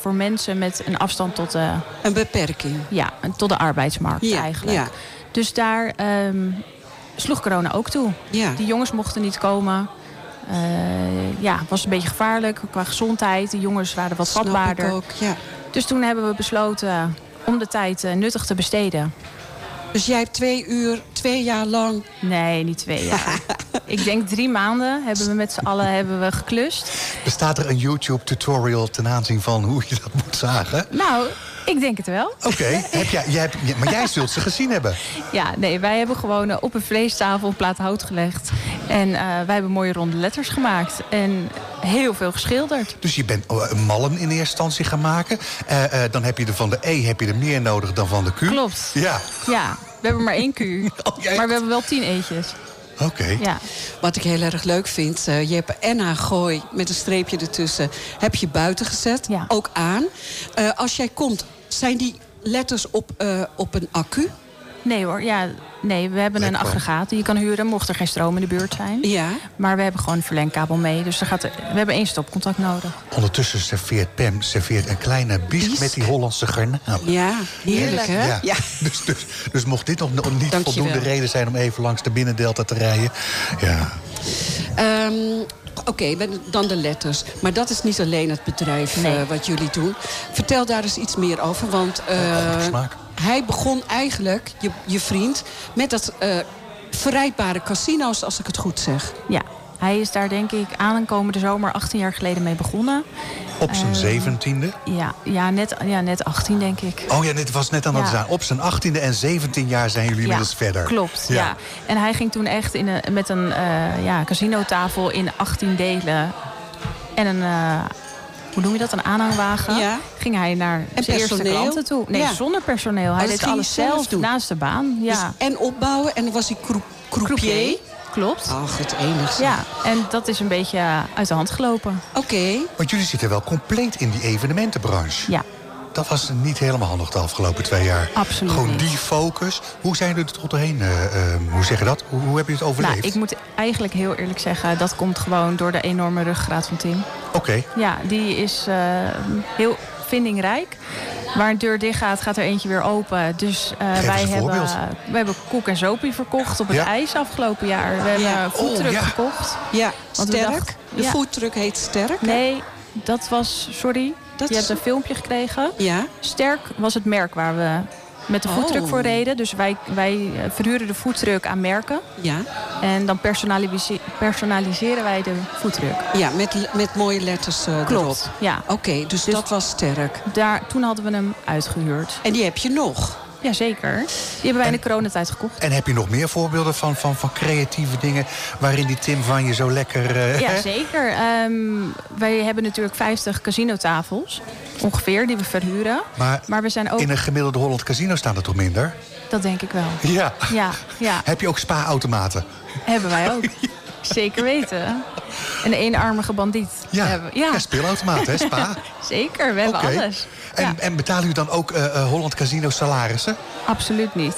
H: voor mensen met een afstand tot de,
B: Een beperking.
H: ja, tot de arbeidsmarkt
B: Ja,
H: eigenlijk.
B: ja.
H: Dus daar ehm, sloeg corona ook toe.
B: Ja.
H: Die jongens mochten niet komen. Eh, ja, het was een beetje gevaarlijk qua gezondheid. De jongens waren wat
B: Snap ik
H: vatbaarder.
B: ook, ja.
H: Dus toen hebben we besloten om de tijd eh, nuttig te besteden.
B: Dus jij hebt twee uur, twee jaar lang.
H: Nee, niet twee jaar. ik denk drie maanden hebben we met z'n allen hebben we geklust.
C: Bestaat er een YouTube-tutorial ten aanzien van hoe je dat moet zagen?
H: Nou, ik denk het wel.
C: Oké, heb jij, jij hebt- ja, maar jij zult ze gezien hebben.
H: Ja, nee, wij hebben gewoon eh, op een vleestafel een plaat hout gelegd. En eh, wij hebben mooie ronde letters gemaakt. En heel veel geschilderd.
C: Dus je bent eh, mallen in eerste instantie gaan maken. Eh, eh, dan heb je er van de E heb je er meer nodig dan van de Q.
H: Klopt.
C: Ja,
H: Ja, we hebben maar één Q.
C: Oh, jij-
H: maar we hebben wel tien eetjes.
C: oké.
H: Ja.
B: Wat ik heel erg leuk vind, eh, je hebt en haar gooi met een streepje ertussen, heb je buiten gezet,
H: Ja.
B: ook aan. Eh, als jij komt, zijn die letters op, eh, op een accu?
H: Nee hoor, ja, nee, we hebben een
C: Lekker.
H: aggregaat die je kan huren, mocht er geen stroom in de buurt zijn.
B: Ja.
H: Maar we hebben gewoon een verlengkabel mee, dus er gaat, we hebben één stopcontact nodig.
C: Ondertussen serveert Pam serveert een kleine bies
B: Biest?
C: met die Hollandse garnalen.
B: Ja, heerlijk hè?
C: Ja.
B: Ja.
C: Dus, dus, dus mocht dit nog nog niet
B: Dankjewel.
C: voldoende reden zijn om even langs de binnendelta te rijden. Ja.
B: Ehm, Oké, ben- dan de letters. Maar dat is niet alleen het bedrijf
H: Nee.
B: eh, wat jullie doen. Vertel daar eens iets meer over. Want eh,
C: Oh, smaak.
B: hij begon eigenlijk, je, je vriend, met dat eh verrijdbare casino's, als ik het goed zeg.
H: Ja, hij is daar denk ik aankomende zomer 18 jaar geleden mee begonnen.
C: Op
H: Eh.
C: zijn zeventiende.
H: Ja, ja, net, ja net 18 denk ik.
C: Oh ja, dit was net aan het
H: Ja.
C: zijn. Op zijn achttiende en 17 jaar zijn jullie inmiddels verder.
H: Klopt, ja. En hij ging toen echt in een, met een eh ja, casinotafel in 18 delen en een, eh, hoe noem je dat, een aanhangwagen,
B: Ja.
H: ging hij naar zijn eerste
B: personeel?
H: klanten toe. Nee,
B: Ja.
H: zonder personeel. Hij
B: dat
H: deed
B: ging
H: alles
B: hij zelf
H: zelf
B: doen.
H: naast de baan. Ja.
B: Dus en opbouwen en dan was hij croup- croupier.
H: Klopt.
B: Ach, het enigste.
H: Ja, en dat is een beetje uit de hand gelopen.
B: Oké,
C: Want jullie zitten wel compleet in die evenementenbranche.
H: Ja.
C: Dat was niet helemaal handig de afgelopen twee jaar.
H: Absoluut
C: Gewoon
H: niet.
C: die focus. Hoe zijn jullie er tot doorheen? eh, eh, hoe zeg je dat? Hoe, hoe heb je het
H: Nou,
C: overleefd?
H: ik moet eigenlijk heel eerlijk zeggen, dat komt gewoon door de enorme ruggraat van Tim.
C: Oké.
H: Ja, die is eh, heel vindingrijk. Waar een deur dicht gaat, gaat er eentje weer open. Dus eh,
C: eens
H: wij,
C: een
H: hebben,
C: voorbeeld.
H: we hebben koek en sopie verkocht op het
C: Ja.
H: ijs afgelopen jaar. We
B: Ja.
H: hebben voetdruk
C: Oh, ja.
H: verkocht.
B: ja,
H: Want we
B: sterk.
H: dachten-
B: de
H: ja.
B: foodtruck heet Sterk. hè?
H: Nee, dat was, sorry,
B: Dat
H: je
B: is-
H: hebt een filmpje gekregen.
B: Ja,
H: Sterk was het merk waar we met de
B: Oh.
H: voetdruk voor reden. Dus wij, wij eh, verhuren de voetdruk aan merken.
B: ja,
H: En dan personalise- personaliseren wij de voetdruk.
B: ja met, met mooie letters eh, erop.
H: Ja.
B: Oké, dus,
H: Dus-
B: dat was Sterk.
H: Daar, toen hadden we hem uitgehuurd.
B: En die heb je nog.
H: Jazeker. Die hebben wij in de coronatijd gekocht.
C: En heb je nog meer voorbeelden van, van, van creatieve dingen... waarin die Tim van je zo lekker... eh,
H: Ja, zeker. Ehm, wij hebben natuurlijk 50 casinotafels, ongeveer, die we verhuren.
C: Maar
H: we zijn ook...
C: in een gemiddelde Holland casino staan er toch minder?
H: Dat denk ik wel.
C: Ja.
H: Ja, ja.
C: Heb je ook spa-automaten?
H: hebben wij ook. Zeker weten. Een eenarmige bandiet.
C: Ja,
H: hebben.
C: ja. speelautomaten, hè, spa.
H: Zeker, we hebben
C: Oké.
H: alles.
C: En,
H: Ja,
C: en betalen u dan ook eh, eh, Holland Casino salarissen?
H: Absoluut niet.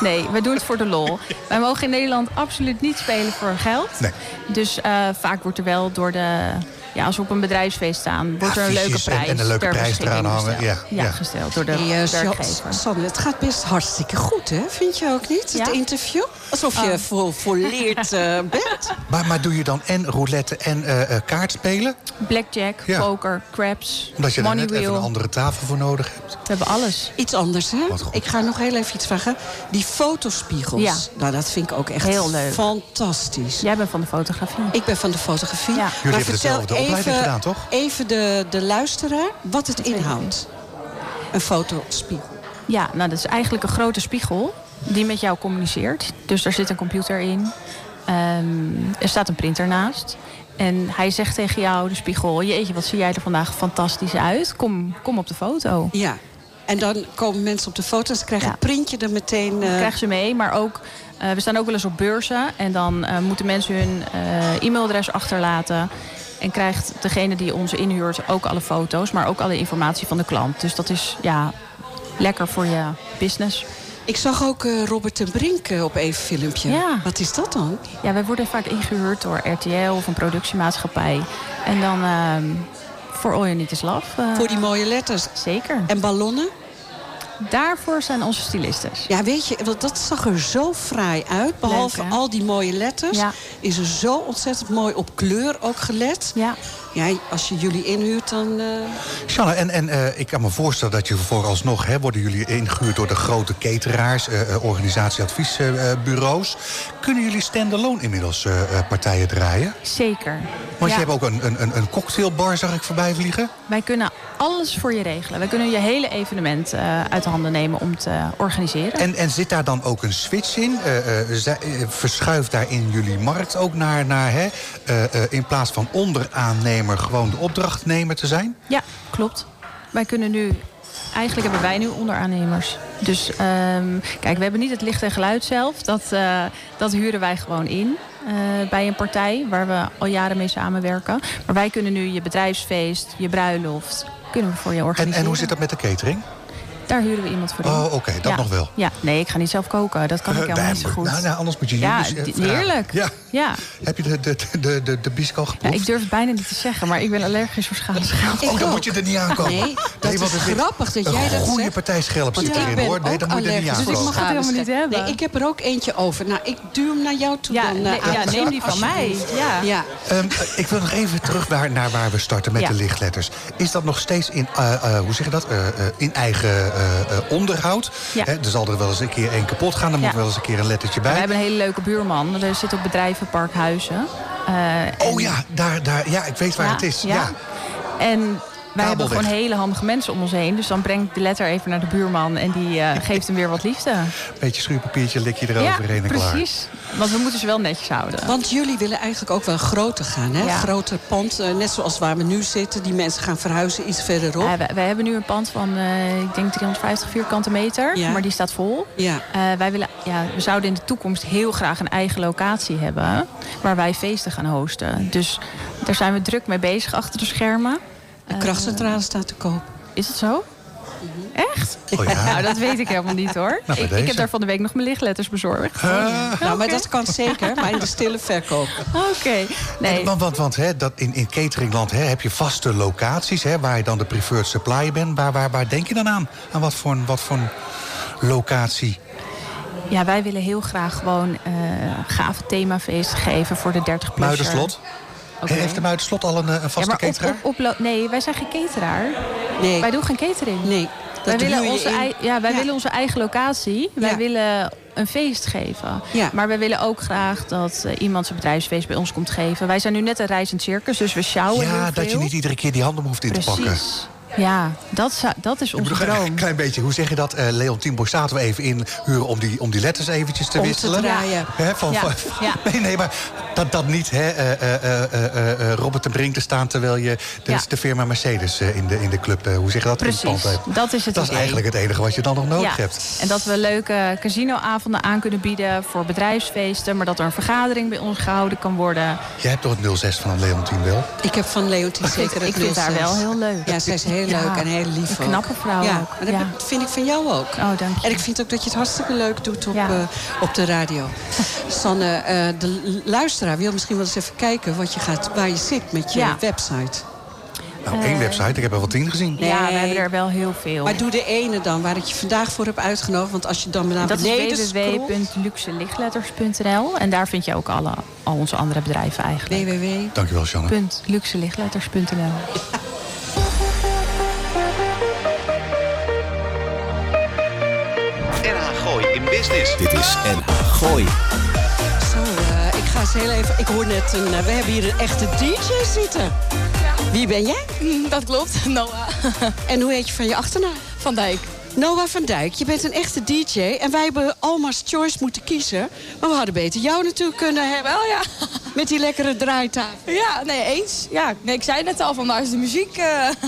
H: Nee, we doen het voor de lol. Wij mogen in Nederland absoluut niet spelen voor geld.
C: Nee.
H: Dus eh, vaak wordt er wel door de... Ja, als we op een bedrijfsfeest staan, wordt er een
C: Affiches
H: leuke
C: en-
H: prijs
C: en een leuke
H: ter
C: prijs
H: beschikking
C: eraan hangen.
H: gesteld.
C: Ja, ja.
H: gesteld door de
B: Hey, eh, Sja-
H: werkgever.
B: Sanne, het gaat best hartstikke goed, hè? Vind je ook niet?
H: Ja.
B: Het interview? Ah. Alsof je vol, volleerd eh, bent.
C: Maar, maar doe je dan en roulette en eh eh kaartspelen?
H: Blackjack,
C: Ja.
H: poker, craps,
C: Omdat je daar
H: money
C: net even
H: wheel.
C: een andere tafel voor nodig hebt.
H: We hebben alles.
B: Iets anders, hè?
C: Wat goed.
B: Ik ga nog heel even iets vragen. Die fotospiegels,
H: Ja.
B: nou, dat vind ik ook echt
H: Heel leuk.
B: fantastisch.
H: Jij bent van de fotografie.
B: Ik ben van de fotografie.
H: Ja.
B: Maar
H: Jullie
C: hebben
B: vertel
C: dezelfde opleiding
B: even,
C: gedaan, toch?
B: Even de, de luisteraar wat het inhoudt. Een fotospiegel.
H: Ja, nou dat is eigenlijk een grote spiegel die met jou communiceert. Dus daar zit een computer in. Ehm, er staat een printer naast. En hij zegt tegen jou, de spiegel... Jeetje, wat zie jij er vandaag fantastisch uit. Kom, kom op de foto.
B: Ja. En dan komen mensen op de foto en ze krijgen
H: Ja.
B: een printje er meteen. eh,
H: Dat krijgen ze mee, maar ook... eh, we staan ook wel eens op beurzen. En dan eh, moeten mensen hun eh, e-mailadres achterlaten. En krijgt degene die ons inhuurt ook alle foto's... maar ook alle informatie van de klant. Dus dat is ja, lekker voor je business.
B: Ik zag ook eh, Robert ten Brink eh, op even filmpje.
H: Ja.
B: Wat is dat dan?
H: Ja, wij worden vaak ingehuurd door RTL of een productiemaatschappij. En dan ehm, voor All You Need Is Love. eh,
B: Voor die mooie letters.
H: Zeker.
B: En ballonnen?
H: Daarvoor zijn onze stylistes.
B: Ja, weet je, want dat zag er zo fraai uit. Behalve
H: Leuk, hè?
B: al die mooie letters.
H: Ja.
B: Is er zo ontzettend mooi op kleur ook gelet.
H: Ja.
B: Ja, als je jullie inhuurt, dan... eh,
C: Shanna, en, en eh, ik kan me voorstellen dat je vooralsnog... Hè, worden jullie ingehuurd door de grote cateraars, eh, eh, organisatieadviesbureaus. Kunnen jullie stand-alone inmiddels eh, eh, partijen draaien?
H: Zeker.
C: Want
H: Ja.
C: je hebt ook een, een- een, een cocktailbar, zag ik voorbij vliegen.
H: Wij kunnen alles voor je regelen. Wij kunnen je hele evenement eh, uit de handen nemen om te organiseren.
C: En, en zit daar dan ook een switch in? Eh, eh, zij- eh, verschuift daarin jullie markt ook naar, naar hè, eh, eh, in plaats van onderaannemer gewoon de opdrachtnemer te zijn?
H: Ja, klopt. Wij kunnen nu... Eigenlijk hebben wij nu onderaannemers. Dus ehm, kijk, we hebben niet het licht en geluid zelf. Dat, eh, dat huren wij gewoon in eh, bij een partij waar we al jaren mee samenwerken. Maar wij kunnen nu je bedrijfsfeest, je bruiloft, kunnen we voor je
C: En,
H: organiseren.
C: en hoe zit dat met de catering?
H: Oh, Daar huren we iemand voor in.
C: Oh, oké, dat
H: Ja.
C: nog wel.
H: Ja, nee, ik ga niet zelf koken. Dat kan ik helemaal niet zo goed.
C: Nou, nou, anders moet je
H: ja,
C: jullie, eh,
H: di-
C: vragen.
H: heerlijk.
C: Ja.
H: ja.
C: Heb je de, de, de, de, de bisco
H: Ja,
C: geproefd?
H: ik durf het bijna niet te zeggen, maar ik ben allergisch voor schadesgeld.
C: Oh,
B: Ik
C: dan
B: ook.
C: moet je er niet aankomen.
B: Nee, dat
C: want
B: is
C: er zit
B: grappig dat jij
C: een
B: dat
C: goede
B: zegt.
C: partij schelp zit
B: Want ik
C: erin,
B: ben
C: hoor. Nee,
B: ook
C: dan moet je er niet
B: allergisch
C: aankomen.
H: Dus ik mag het helemaal niet hebben.
B: Nee, ik heb er ook eentje over. Nou, ik duw hem naar jou toe
H: Ja,
B: dan. eh,
H: nee, ja,
B: Aad.
H: neem die van mij. Ja.
B: Ja,
C: Ehm, eh, ik wil nog even terug naar, naar waar we starten met
H: Ja.
C: de lichtletters. Is dat nog steeds in, eh, eh, hoe zeg je dat, Eh, eh, in eigen eh, eh, onderhoud?
H: Ja.
C: Hè, er zal er wel eens een keer één kapot gaan. Dan moet
H: Ja.
C: er wel eens een keer een lettertje
H: We
C: bij.
H: hebben een hele leuke buurman. Er zit op bedrijvenpark Huizen. Eh, en-
C: Oh ja, daar, daar, ja, ik weet waar
H: Ja,
C: het is.
H: ja.
C: Ja.
H: En wij hebben
C: Kabelweg.
H: gewoon hele handige mensen om ons heen. Dus dan breng ik de letter even naar de buurman en die eh, geeft hem weer wat liefde.
C: Beetje schuurpapiertje, lik je
H: ja,
C: eroverheen en klaar.
H: precies. Want we moeten ze wel netjes houden.
B: want jullie willen eigenlijk ook wel groter gaan, hè?
H: Ja.
B: Groter pand, eh, net zoals waar we nu zitten. Die mensen gaan verhuizen iets verderop.
H: Eh, wij, wij hebben nu een pand van, eh, ik denk 350 vierkante meter.
B: Ja.
H: Maar die staat vol.
B: Ja.
H: Eh, wij willen, ja, we zouden in de toekomst heel graag een eigen locatie hebben. Waar wij feesten gaan hosten. Dus daar zijn we druk mee bezig achter de schermen.
B: De krachtcentrale staat te koop.
H: Is dat zo? Echt?
C: Oh ja.
H: Nou, dat weet ik helemaal niet hoor.
C: Nou, bij
H: ik,
C: deze.
H: ik heb daar van de week nog mijn lichtletters bezorgd.
B: Nou, maar
H: Oké.
B: dat kan zeker, maar in de stille verkoop.
H: Oké. Nee.
C: En- Want, want, want hè, dat in, in cateringland hè, heb je vaste locaties hè, waar je dan de preferred supplier bent. Waar, waar, waar denk je dan aan? Aan wat voor, een- wat voor een locatie?
H: Ja, wij willen heel graag gewoon eh gave themafeesten geven voor de 30 plus.
C: Muiderslot?
H: Oké.
C: Heeft de Muiderslot al een, eh, een
H: Ja,
C: vaste
H: maar op,
C: cateraar?
H: op, oplo- Nee, wij zijn geen cateraar.
B: Nee,
H: Wij doen geen catering.
B: nee.
H: Wij,
B: dat
H: willen
B: huur je
H: onze,
B: in.
H: ei- ja, wij willen onze eigen locatie. Wij
B: Ja.
H: willen een feest geven.
B: Ja.
H: Maar wij willen ook graag dat eh, iemand zijn bedrijfsfeest bij ons komt geven. Wij zijn nu net een reizend circus, dus we sjouwen heel
C: Ja, dat je
H: veel.
C: niet iedere keer die handen hoeft in te pakken.
H: Precies. Ja, dat, zou- dat is
C: Ik
H: onze
C: bedoel, een
H: droom.
C: klein beetje, hoe zeg je dat? eh Leontien Borsato even inhuren om die, om die letters eventjes te
B: Om te
C: wisselen.
B: draaien.
C: Hè, van,
H: Ja,
C: van-
H: ja.
C: Nee, nee, maar dat, dat niet, hè? eh, eh, eh, eh, eh, eh, Robert de Brink te staan terwijl je de,
H: Ja.
C: de firma Mercedes eh, in, de, in de club, eh, hoe zeg je dat? In het
H: Precies,
C: pand hebt.
H: dat is het
C: Dat is
H: idee.
C: eigenlijk het enige wat je dan nog nodig
H: Ja.
C: hebt.
H: En dat we leuke casinoavonden aan kunnen bieden voor bedrijfsfeesten. Maar dat er een vergadering bij ons gehouden kan worden.
C: Jij hebt toch het 06 van een Leontien wel?
B: Ik heb van Leontien zeker een
H: ik vind haar
B: 06.
H: wel heel leuk.
B: Ja, zij is heel
H: Ja.
B: leuk en heel lief
H: Een
B: ook.
H: knappe vrouw
B: ja, en
H: ook,
B: dat
H: ja.
B: vind ik van jou ook.
H: Oh, dank je.
B: En ik vind ook dat je het hartstikke leuk doet op,
H: Ja.
B: eh, op de radio. Sanne, eh, de l- luisteraar wil misschien wel eens even kijken... Wat je gaat, waar je zit met je
H: Ja.
B: website.
C: Nou,
H: Eh.
C: één website, ik heb er wel tien gezien.
B: Nee.
H: Ja, we hebben er wel heel veel.
B: Maar doe de ene dan, waar ik je vandaag voor heb uitgenodigd. Want als je dan naar
H: dat
B: beneden
H: is
B: scrolt...
H: www.luxelichtletters.nl. En daar vind je ook alle, al onze andere bedrijven eigenlijk.
B: www.
C: Dankjewel, Sjanne.
H: Punt Luxelichtletters.nl.
A: NH Gooi in Business. Dit is NH Gooi.
B: Zo, eh, ik ga eens heel even... Ik hoor net een... eh, we hebben hier een echte DJ zitten. Wie ben jij?
I: Mm, Dat klopt, Noah.
B: En hoe heet je van je achternaam?
I: Van Dijk.
B: Noah van Dijk, je bent een echte DJ. En wij hebben Alma's Choice moeten kiezen. Maar we hadden beter jou natuurlijk kunnen hebben.
I: Wel Oh ja.
B: Met die lekkere draaitafel.
I: Ja, nee, eens. Ja, nee, ik zei net al, van daar is de muziek. eh.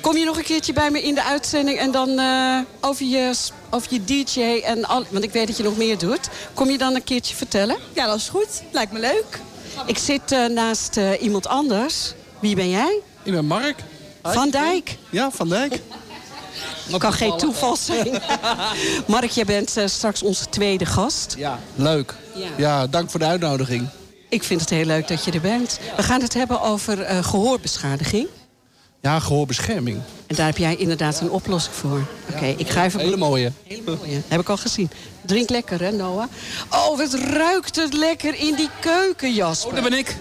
B: Kom je nog een keertje bij me in de uitzending en dan eh, over, je, s- over je DJ en al. Want ik weet dat je nog meer doet. Kom je dan een keertje vertellen?
I: ja, dat is goed. Lijkt me leuk.
B: Ik zit eh, naast eh, iemand anders. Wie ben jij?
J: Ik ben Mark.
B: Van Dijk.
J: Ja, Van Dijk.
B: Dat kan geen toeval zijn. Mark, jij bent eh, straks onze tweede gast.
J: Ja. Leuk.
B: Ja.
J: Ja. dank voor de uitnodiging.
B: Ik vind het heel leuk dat je er bent. We gaan het hebben over eh, gehoorbeschadiging.
J: Ja, gehoorbescherming.
B: En daar heb jij inderdaad een oplossing voor. Oké, ik ga even...
J: Hele mooie.
B: Hele mooie. Heb ik al gezien. Drink lekker, hè, Noah? Oh, wat ruikt het lekker in die keuken, Jasper.
E: Dat ben ik.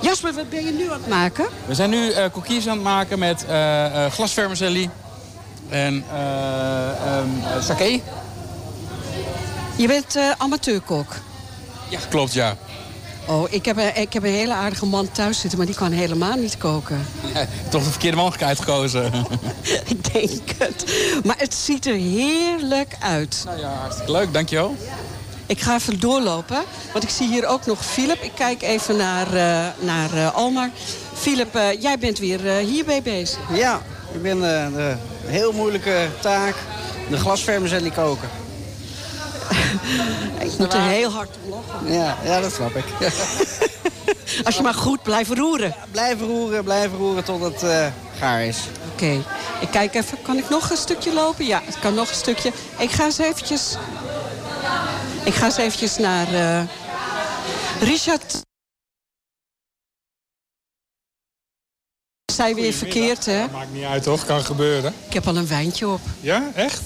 B: Jasper, wat ben je nu aan het maken?
E: We zijn nu eh koekjes aan het maken met eh eh glasvermicelli en eh ehm, eh, sake.
B: Je bent eh, amateurkok.
E: Ja, klopt, ja.
B: Oh, ik heb, een, ik heb een hele aardige man thuis zitten, maar die kan helemaal niet koken.
E: Toch de verkeerde man uitgekozen.
B: ik denk het. Maar het ziet er heerlijk uit.
E: nou ja, hartstikke leuk, dankjewel.
B: Ik ga even doorlopen, want ik zie hier ook nog Philip. Ik kijk even naar, eh naar eh, Almar. Philip, eh, jij bent weer eh, hiermee bezig.
F: Ja, ik ben eh, de heel moeilijke taak. De glasvermicelli koken.
B: Ik moet er heel hard om lachen.
F: Ja, ja, dat snap ik.
B: Als je maar goed blijft roeren.
F: blijven roeren, blijven roeren tot het eh, gaar is.
B: Oké, ik kijk even. Kan ik nog een stukje lopen? Ja, het kan nog een stukje. Ik ga eens eventjes... Ik ga eens eventjes naar... eh, Richard... Zij weer verkeerd, hè?
K: Maakt niet uit toch, kan gebeuren.
B: Ik heb al een wijntje op.
K: Ja, echt?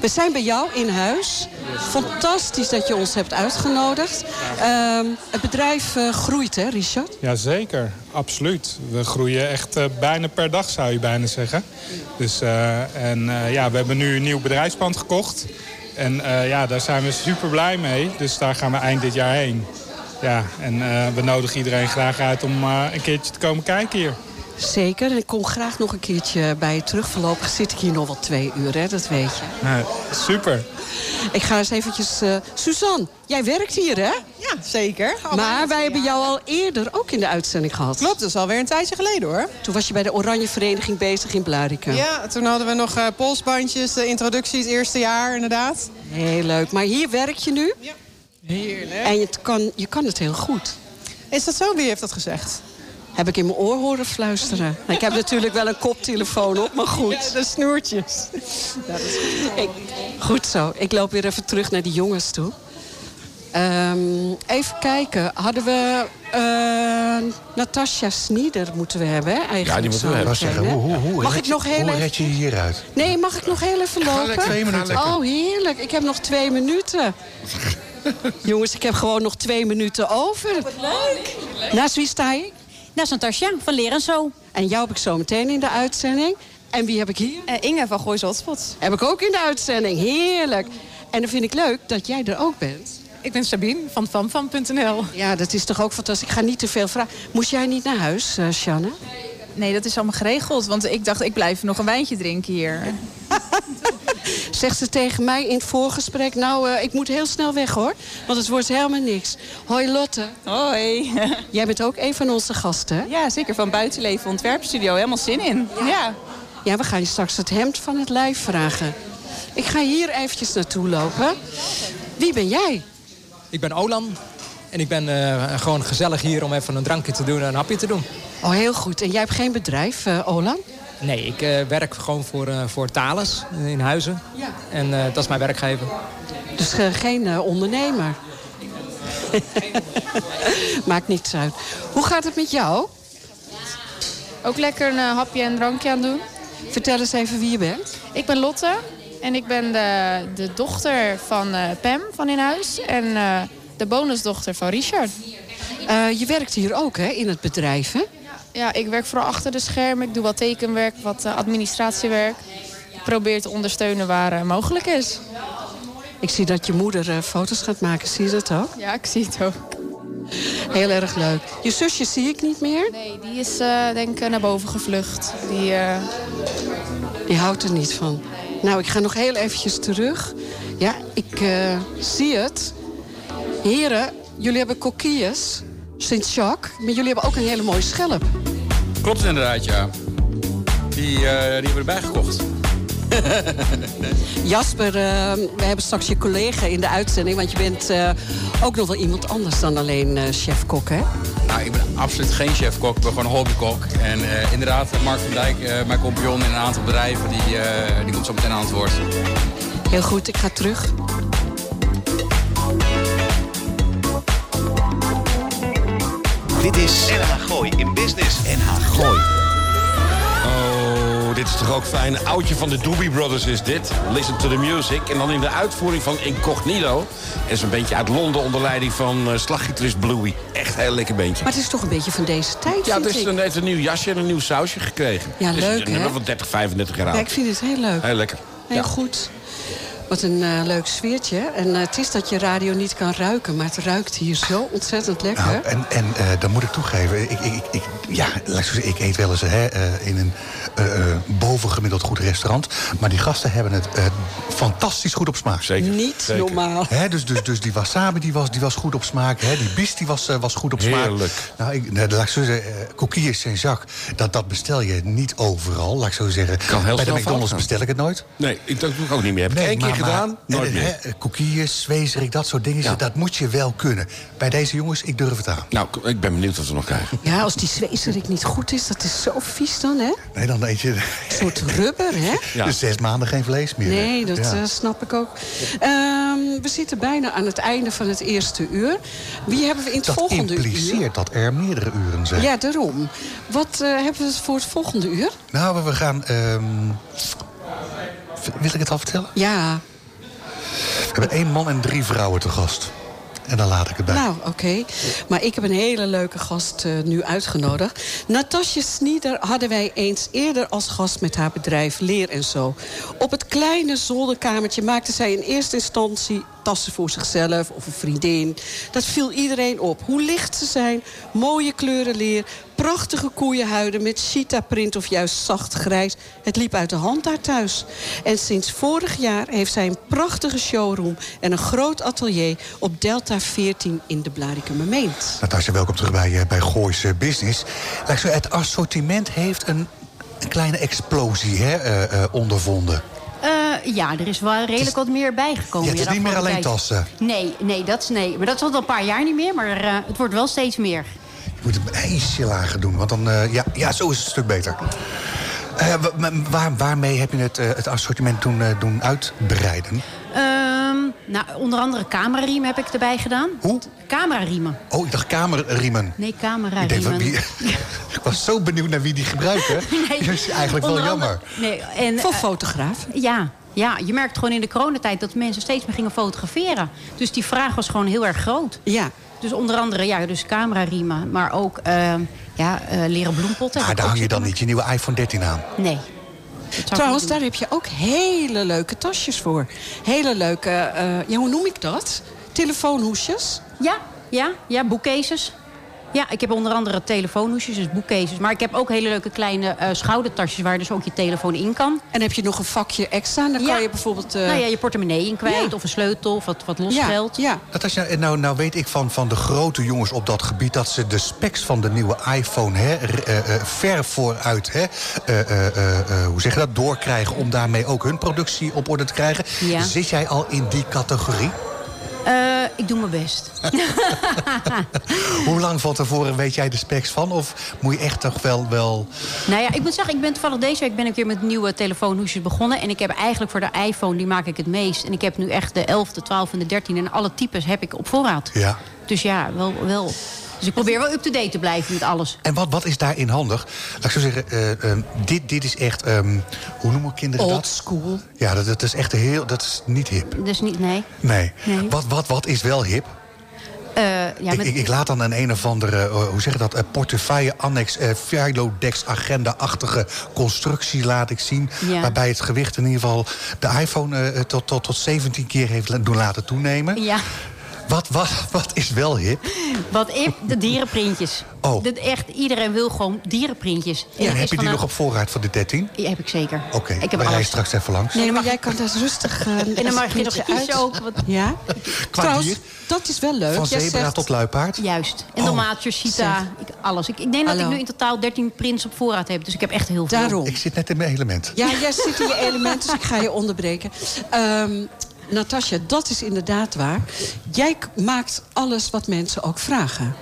B: We zijn bij jou in huis. Fantastisch dat je ons hebt uitgenodigd. Ehm, het bedrijf eh, groeit, hè, Richard?
K: Jazeker, absoluut. We groeien echt eh, bijna per dag, zou je bijna zeggen. Dus, eh, en eh, ja, we hebben nu een nieuw bedrijfspand gekocht. En eh, ja, daar zijn we super blij mee. Dus daar gaan we eind dit jaar heen. Ja, en eh, we nodigen iedereen graag uit om eh, een keertje te komen kijken hier.
B: Zeker. En ik kom graag nog een keertje bij je terug. Voorlopig zit ik hier nog wel twee uur, hè, dat weet je.
K: Nou, super.
B: Ik ga eens eventjes... eh, Suzanne, jij werkt hier, hè?
L: Ja, zeker.
B: Maar wij hebben jou al eerder ook in de uitzending gehad.
L: Klopt, dat is alweer een tijdje geleden hoor.
B: Toen was je bij de Oranje Vereniging bezig in Blarikum.
L: Ja, toen hadden we nog eh, polsbandjes, de introductie het eerste jaar inderdaad.
B: Heel leuk. Maar hier werk je nu.
L: Heerlijk.
B: En je kan, je kan het heel goed.
L: Is dat zo? Wie heeft dat gezegd?
B: Heb ik in mijn oor horen fluisteren. Nou, ik heb natuurlijk wel een koptelefoon op, maar goed.
L: Ja, de snoertjes.
B: Ik- goed zo. Ik loop weer even terug naar die jongens toe. Ehm, even kijken. Hadden we eh Natasja Snieder moeten we hebben, hè, eigenlijk.
D: Ja, die moeten we
B: zo
D: hebben.
B: meteen,
C: Zeggen, hoe,
B: hè?
C: hoe, hoe,
B: Mag
C: red
B: ik
C: je-
B: nog heel
C: hoe
B: even...
C: red je je hieruit?
B: Nee, mag ik nog heel even lopen?
D: lekker,
C: Twee
D: ga
C: minuten.
D: lekker.
B: Oh, heerlijk. Ik heb nog twee minuten. Jongens, ik heb gewoon nog twee minuten over.
M: Leuk.
B: Naast wie sta ik?
M: Nou, Santasia van Leren Zo.
B: En jou heb ik zo meteen in de uitzending. En wie heb ik hier?
I: Inge van Goois Hotspots.
B: Heb ik ook in de uitzending. Heerlijk. En dan vind ik leuk dat jij er ook bent.
N: Ik ben Sabine van famfam.nl.
B: Ja, dat is toch ook fantastisch. Ik ga niet te veel vragen. Moest jij niet naar huis, eh Shanna?
H: Nee, dat is allemaal geregeld. Want ik dacht, ik blijf nog een wijntje drinken hier.
B: Zegt ze tegen mij in het voorgesprek... nou, eh, ik moet heel snel weg, hoor. Want het wordt helemaal niks. Hoi, Lotte.
N: Hoi.
B: Jij bent ook een van onze gasten, hè?
N: Ja, zeker van Buitenleven Ontwerpstudio. Helemaal zin in. Ja.
B: Ja, we gaan je straks het hemd van het lijf vragen. Ik ga hier eventjes naartoe lopen. Wie ben jij?
O: Ik ben Olan. En ik ben eh, gewoon gezellig hier om even een drankje te doen en een hapje te doen.
B: Oh, heel goed. En jij hebt geen bedrijf, eh, Olan?
O: Nee, ik eh, werk gewoon voor, eh voor Thales eh, in Huizen.
B: Ja.
O: En eh, dat is mijn werkgever.
B: Dus eh, geen eh, ondernemer. Maakt niets uit. Hoe gaat het met jou?
P: Ook lekker een eh, hapje en drankje aan doen.
B: Vertel eens even wie je bent.
P: Ik ben Lotte en ik ben de, de dochter van eh, Pam van in huis en eh, de bonusdochter van Richard.
B: Eh, je werkt hier ook, hè, in het bedrijf, hè?
P: Ja, ik werk vooral achter de schermen. Ik doe wat tekenwerk, wat eh, administratiewerk. Ik probeer te ondersteunen waar eh, mogelijk is.
B: Ik zie dat je moeder eh, foto's gaat maken. Zie je dat ook?
P: Ja, ik zie het ook.
B: Heel erg leuk. Je zusje zie ik niet meer.
P: Nee, die is eh, denk ik naar boven gevlucht. Die, eh,
B: Die houdt er niet van. Nou, ik ga nog heel eventjes terug. Ja, ik eh, zie het. Heren, Jullie hebben coquilles, Sint-Jacques, maar jullie hebben ook een hele mooie schelp.
E: Klopt inderdaad, ja. Die, eh, die hebben we erbij gekocht.
B: Jasper, eh, we hebben straks je collega in de uitzending, want je bent eh, ook nog wel iemand anders dan alleen eh chef-kok, hè?
E: Nou, ik ben absoluut geen chef-kok, ik ben gewoon een hobbykok. En eh, inderdaad, Mark van Dijk, eh, mijn compagnon in een aantal bedrijven, die, eh, die komt zo meteen aan het woord.
B: Heel goed, ik ga terug.
A: Dit is NH Gooi in Business. NH Gooi.
D: Oh, dit is toch ook fijn. Een oudje van de Doobie Brothers is dit. Listen to the music. En dan in de uitvoering van Incognito. En zo'n beetje uit Londen onder leiding van eh, slaggitarist Bluey. Echt een heel lekker beentje.
B: Maar het is toch een beetje van deze tijd,
D: Ja,
B: vind
D: het is
B: ik.
D: een, heeft een nieuw jasje en een nieuw sausje gekregen.
B: Ja,
D: Dus
B: leuk,
D: Een nummer
B: hè?
D: van 30, 35 jaar
B: Ja, ik
D: oud.
B: vind het heel leuk.
D: Heel lekker.
B: Heel goed. Wat een eh, leuk sfeertje. En eh, het is dat je radio niet kan ruiken, maar het ruikt hier zo ontzettend lekker.
C: Nou, en en eh, dan moet ik toegeven, ik, ik, ik, ja, laat ik zo zeggen, ik eet wel eens hè, eh, in een eh, eh, bovengemiddeld goed restaurant. Maar die gasten hebben het eh, fantastisch goed op smaak.
D: Zeker.
B: Niet Zeker. normaal.
C: Hè, dus, dus, dus die wasabi die was, die was goed op smaak. Hè, die bies die was, eh, was goed op smaak.
D: Heerlijk.
C: Nou, ik, nou, laat ik zo zeggen, eh, coquilles Saint-Jacques, dat, dat bestel je niet overal. Laat ik zo zeggen.
D: Kan heel snel
C: Bij de
D: fout
C: McDonald's
D: gaan.
C: bestel ik het nooit. eh,
D: Nee, ik, dat doe ik ook niet meer. Heb ik één keer gedaan, nooit meer.
C: Koekjes, zwezerik, dat soort dingen. Dat moet je wel kunnen. Bij deze jongens, ik durf het aan.
D: Nou, ik ben benieuwd wat we nog krijgen.
B: Ja, als die zwezerik niet goed is, dat is zo vies dan, hè?
C: Nee, dan eet je... Een
B: soort rubber, hè?
C: Dus zes maanden geen vlees meer.
B: Nee, dat
C: Ja.
B: eh, snap ik ook. Ehm, we zitten bijna aan het einde van het eerste uur. Wie hebben we in het
C: dat
B: volgende
C: impliceert
B: uur?
C: dat er meerdere uren zijn.
B: Ja, daarom. Wat eh, hebben we voor het volgende uur?
C: Nou, we gaan... ehm, wil ik het al vertellen?
B: Ja,
C: We hebben één man en drie vrouwen te gast. En dan laat ik het bij.
B: nou oké. Maar ik heb een hele leuke gast eh, nu uitgenodigd. Natasja Snieder hadden wij eens eerder als gast met haar bedrijf Leer en Zo. Op het kleine zolderkamertje maakte zij in eerste instantie tassen voor zichzelf of een vriendin. Dat viel iedereen op. Hoe licht ze zijn, mooie kleuren leer, prachtige koeienhuiden met cheetahprint of juist zacht grijs. Het liep uit de hand daar thuis. En sinds vorig jaar heeft zij een prachtige showroom en een groot atelier op Delta 14 in de Blarikummermeent.
C: Natasja, welkom terug bij, eh, bij Goois eh, Business. Laat ik zo, het assortiment heeft een, een kleine explosie hè, eh, eh, ondervonden.
M: Eh, ja, er is wel redelijk wat meer bijgekomen.
C: Ja, het is
M: de
C: niet meer
M: afgelopen
C: alleen
M: tijd.
C: tassen.
M: Nee, nee, dat is nee. Maar dat is al een paar jaar niet meer, maar eh, het wordt wel steeds meer.
C: Je moet het een ijsje lager doen, want dan... eh, ja, ja, zo is het een stuk beter. Eh, wa- ma- waar, waarmee heb je het, eh, het assortiment toen eh, doen uitbreiden?
M: Ehm, nou, onder andere camerariemen heb ik erbij gedaan.
C: Hoe?
M: Camerariemen.
C: Oh, ik dacht kamerriemen.
M: Nee,
C: ik, denk,
M: camerariemen.
C: van wie, ik was zo benieuwd naar wie die gebruiken.
M: Nee,
C: dat is eigenlijk wel
M: onder
C: jammer.
M: andere- nee, en,
B: Voor
M: eh,
B: fotograaf.
M: Ja, ja, je merkt gewoon in de coronatijd dat mensen steeds meer gingen fotograferen. Dus die vraag was gewoon heel erg groot.
B: Ja.
M: Dus onder andere, ja, dus camerariemen, maar ook eh, ja, eh, leren bloempotten.
C: Ah,
M: heb ik
C: daar
M: ook
C: hang je dan niet je nieuwe iPhone 13 aan.
M: Nee.
B: Trouwens, daar heb je ook hele leuke tasjes voor. Hele leuke, eh, ja, hoe noem ik dat? Telefoonhoesjes?
M: Ja, ja, ja, boekcases. Ja, ik heb onder andere telefoonhoesjes, dus boekcases. Maar ik heb ook hele leuke kleine eh, schoudertasjes waar dus ook je telefoon in kan.
B: En heb je nog een vakje extra? Dan kan je bijvoorbeeld... eh,
M: Nou ja, je portemonnee in kwijt
B: Ja.
M: of een sleutel of wat, wat los
B: Ja,
M: geld.
B: Ja.
C: Natasja, en nou, nou weet ik van, van de grote jongens op dat gebied... dat ze de specs van de nieuwe iPhone hè, r- eh, eh, ver vooruit... Hè, eh, eh, eh, eh, hoe zeg je dat, doorkrijgen om daarmee ook hun productie op orde te krijgen.
M: Ja.
C: Zit jij al in die categorie?
M: Eh, ik doe mijn best.
C: Hoe lang van tevoren weet jij de specs van? Of moet je echt toch wel... wel...
M: Nou ja, ik moet zeggen, ik ben toevallig deze week ben ik weer met nieuwe telefoonhoesjes begonnen. En ik heb eigenlijk voor de iPhone, die maak ik het meest. En ik heb nu echt de 11, de 12 en de 13 en alle types heb ik op voorraad.
C: Ja.
M: Dus ja, wel. wel. Dus ik probeer wel up-to-date te blijven met alles.
C: En wat, wat is daarin handig? Laat ik zo zeggen, eh, ehm, dit, dit is echt... ehm, hoe noemen kinderen dat?
B: Old school.
C: Ja, dat, dat is echt heel... Dat is niet hip.
M: Dus niet, nee.
C: Nee.
M: Nee.
C: Wat, wat, wat is wel hip?
M: Eh, ja,
C: ik,
M: met-
C: ik, ik laat dan een een of andere, eh, hoe zeg je dat, eh, portefeuille, annex, eh Filodex, agenda-achtige constructie laat ik zien.
M: Ja.
C: Waarbij het eh, gewicht in ieder geval de iPhone eh, tot, tot, tot 17 keer heeft la- doen laten toenemen.
M: ja.
C: Wat, wat, wat is wel hip?
M: Wat ik, de dierenprintjes.
C: Oh.
M: Dat echt, iedereen wil gewoon dierenprintjes. En
C: Ja,
M: dat
C: heb
M: is
C: je die
M: van
C: nog
M: een-
C: op voorraad van de 13?
M: Die heb ik zeker.
C: Oké,
M: ik
C: we
M: heb
C: rijden
M: alles.
C: straks even langs.
B: Nee, maar jij kan daar rustig... eh,
M: En dan mag je nog
B: printje
M: kiezen
B: uit.
M: ook. Wat...
B: Ja?
C: Qua
B: Trouwens,
C: dier?
B: dat is wel leuk.
C: Van
B: Jij
C: zebra
B: zegt-
C: tot luipaard?
M: Juist. En dalmatiërs, cheetah, ik, alles. Ik, ik denk dat
C: Hallo.
M: ik nu in totaal 13 prints op voorraad heb. Dus ik heb echt heel veel.
B: Daarom.
C: Ik zit net in mijn element.
B: Ja, jij zit in je element, dus ik ga je onderbreken. Ehm Natasja, dat is inderdaad waar. Jij k- maakt alles wat mensen ook vragen.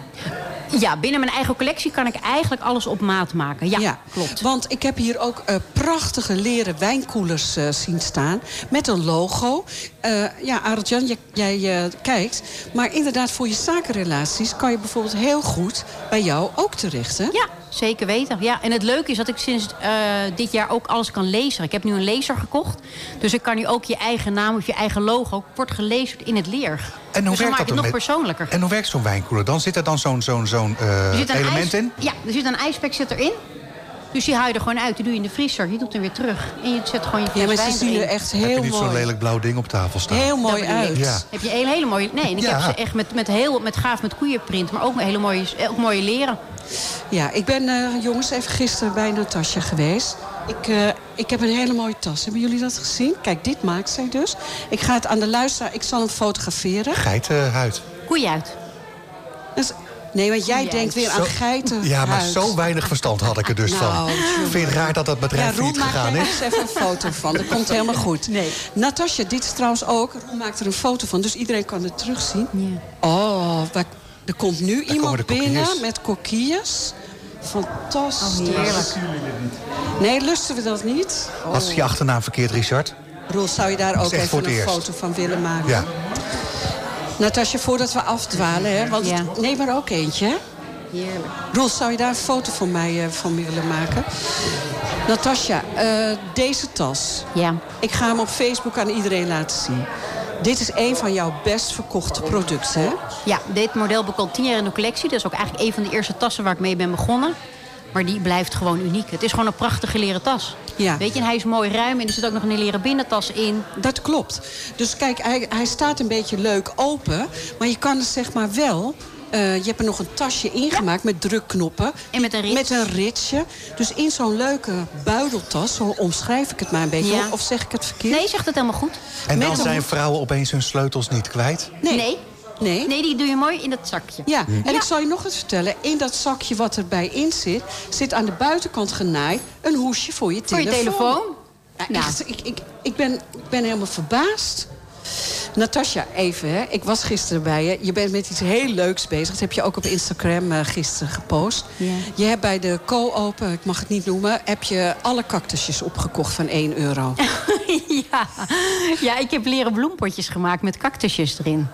M: Ja, binnen mijn eigen collectie kan ik eigenlijk alles op maat maken. Ja, klopt.
B: Want ik heb hier ook eh, prachtige leren wijnkoelers eh, zien staan. Met een logo. Eh, ja, Arjan, jij, jij eh, kijkt. Maar inderdaad, voor je zakenrelaties kan je bijvoorbeeld heel goed bij jou ook terecht. Hè?
M: Ja, zeker weten. Ja, en het leuke is dat ik sinds eh, dit jaar ook alles kan lezen. Ik heb nu een laser gekocht. Dus ik kan nu ook je eigen naam of je eigen logo... wordt gelezen in het leer.
C: En
M: dus
C: hoe
M: dan
C: werkt
M: maak
C: dat
M: ik het nog
C: dan met-
M: persoonlijker.
C: En hoe werkt zo'n wijnkoeler? Dan zit er dan zo'n zo'n zo'n eh,
M: Er zit een
C: element
M: ijs-
C: in.
M: Ja, er zit een ijspack zit erin. Dus die haal je er gewoon uit. Die doe je in de vriezer. Je doet hem weer terug. En je zet gewoon je fles
B: Ja, maar ze
M: wijn
B: zien
M: erin.
B: er echt
C: Heb je
B: heel
C: niet zo'n
B: mooi.
C: lelijk blauw ding op tafel staan?
B: Heel mooi
M: Dat bedoel ik.
B: uit. Ja.
M: Heb je een hele mooie... Nee, en ik
C: Ja.
M: heb ze echt met, met, heel, met gaaf met koeienprint. Maar ook met hele mooie, ook mooie leren.
B: Ja, ik ben eh, jongens even gisteren bij Natasja geweest. Ik, eh, ik heb een hele mooie tas. Hebben jullie dat gezien? Kijk, dit maakt zij dus. Ik ga het aan de luisteraar, ik zal hem fotograferen.
C: Geitenhuid.
M: Koeien uit.
B: Dus, nee, want jij denkt weer aan
C: Zo-
B: geiten.
C: Ja, maar zo weinig verstand had ik er dus van.
B: Nou, jongen.
C: Vind je het raar dat dat
B: Ja,
C: bedrijf
B: Roel
C: niet
B: maakt
C: gegaan
B: er
C: is?
B: eens even een foto van. Dat komt helemaal goed. Nee. Natasja, dit is trouwens ook. Roel maakt er een foto van, dus iedereen kan het terugzien. Oh, waar- er komt nu
C: de
B: iemand
C: kokkies.
B: binnen met kokkies. Fantastisch.
C: Oh, heerlijk.
B: Nee, lusten we dat niet? Oh.
C: Had ze je achternaam verkeerd, Richard?
B: Roel, zou je daar
C: Dat is
B: ook
C: echt voor
B: even
C: het
B: een
C: eerst.
B: foto van willen maken?
C: Ja.
B: Natasja, voordat we afdwalen, hè, want het- neem er ook eentje. hè?
M: Heerlijk.
B: Roel, zou je daar een foto van mij eh, van willen maken? Natasja, eh, deze tas.
M: Ja.
B: Ik ga hem op Facebook aan iedereen laten zien. Dit is een van jouw best verkochte producten, hè?
M: Ja, dit model bekomt 10 jaar in de collectie. Dat is ook eigenlijk een van de eerste tassen waar ik mee ben begonnen. Maar die blijft gewoon uniek. Het is gewoon een prachtige leren tas.
B: Ja.
M: Weet je, en hij is mooi ruim en er zit ook nog een leren binnentas in.
B: Dat klopt. Dus kijk, hij, hij staat een beetje leuk open. Maar je kan het zeg maar wel... eh, je hebt er nog een tasje ingemaakt met drukknoppen.
M: En met een rits.
B: Met een ritsje. Dus in zo'n leuke buideltas, zo omschrijf ik het maar een beetje.
M: Ja.
B: Of zeg ik het verkeerd?
M: Nee, zegt het helemaal goed.
C: En dan
B: Met een
C: zijn
B: hoed.
C: vrouwen opeens hun sleutels niet kwijt.
M: Nee. Nee.
B: Nee.
M: die doe je mooi in dat zakje. Hm. Mhm.
B: Ja, en ik zal je nog eens vertellen. In dat zakje wat erbij in zit, zit aan de buitenkant genaaid een hoesje voor je
M: Voor je
B: telefoon.
M: telefoon?
B: Ja,
M: Nou.
B: echt, ik, ik, ik, ben, ik ben helemaal verbaasd. Natasja, even, hè. ik was gisteren bij je. Je bent met iets heel leuks bezig. Dat heb je ook op Instagram eh, gisteren gepost. Je hebt bij de co-op, eh, ik mag het niet noemen... heb je alle cactusjes opgekocht van 1 euro.
M: ja. ja, ik heb leren bloempotjes gemaakt met cactusjes erin.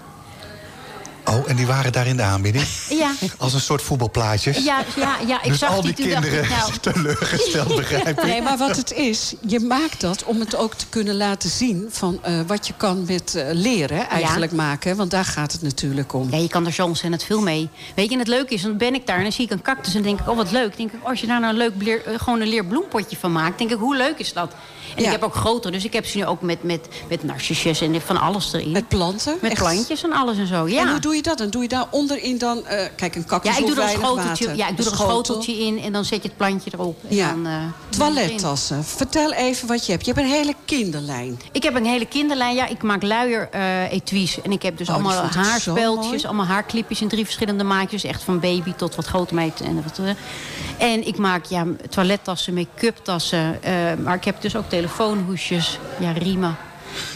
C: Oh, en die waren daar in de aanbieding?
M: Ja.
C: Als een soort voetbalplaatjes?
M: Ja, ja, ja, ik
C: dus
M: zag
C: al
M: die,
C: die,
M: toen dacht ik, nou,
C: kinderen teleurgesteld, begrijp ik.
B: Nee, maar wat het is, je maakt dat om het ook te kunnen laten zien... van eh, wat je kan met eh, leren eigenlijk
M: Ja.
B: maken. Want daar gaat het natuurlijk om.
M: Ja, je kan er zo ontzettend veel mee. Weet je, en het leuke is, dan ben ik daar en dan zie ik een cactus en denk ik, oh wat leuk. Denk ik, oh, als je daar nou een leuk leer- eh, gewoon een leerbloempotje van maakt, denk ik, hoe leuk is dat? En ik heb ook groter, dus ik heb ze nu ook met, met, met narcisjes en van alles erin. Met
B: planten?
M: Met
B: Echt?
M: plantjes en alles en zo, ja.
B: En hoe doe je dat? Dan doe je daar onderin dan... eh, kijk, een cactus
M: ja, ik doe er
B: hoeft
M: een
B: weinig
M: schoteltje,
B: water.
M: ja, ik doe er een
B: Schotel.
M: schoteltje in en dan zet je het plantje erop. En
B: Ja.
M: dan, eh,
B: Toilettassen. Vertel even wat je hebt. Je hebt een hele kinderlijn.
M: Ik heb een hele kinderlijn. Ja, ik maak luier eh etuis. En ik heb dus
B: Oh, die
M: allemaal
B: vond ik zo
M: haarspeldjes,
B: mooi.
M: allemaal haarclipjes in drie verschillende maatjes. Echt van baby tot wat grote meid. En, wat, eh. en ik maak ja, toilettassen, make-up tassen. eh, maar ik heb dus ook telefoonhoesjes, ja, riemen.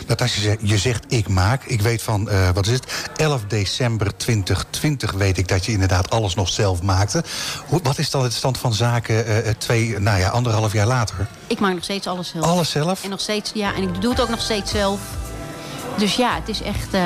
C: Natasja, zegt- je zegt ik maak. Ik weet van, eh, wat is het, 11 december 2020 weet ik dat je inderdaad alles nog zelf maakte. Hoe, wat is dan het stand van zaken eh, eh, twee, nou ja, anderhalf jaar later?
M: Ik maak nog steeds alles zelf.
C: Alles zelf?
M: En nog steeds, ja, en ik doe het ook nog steeds zelf. Dus ja, het is echt, eh,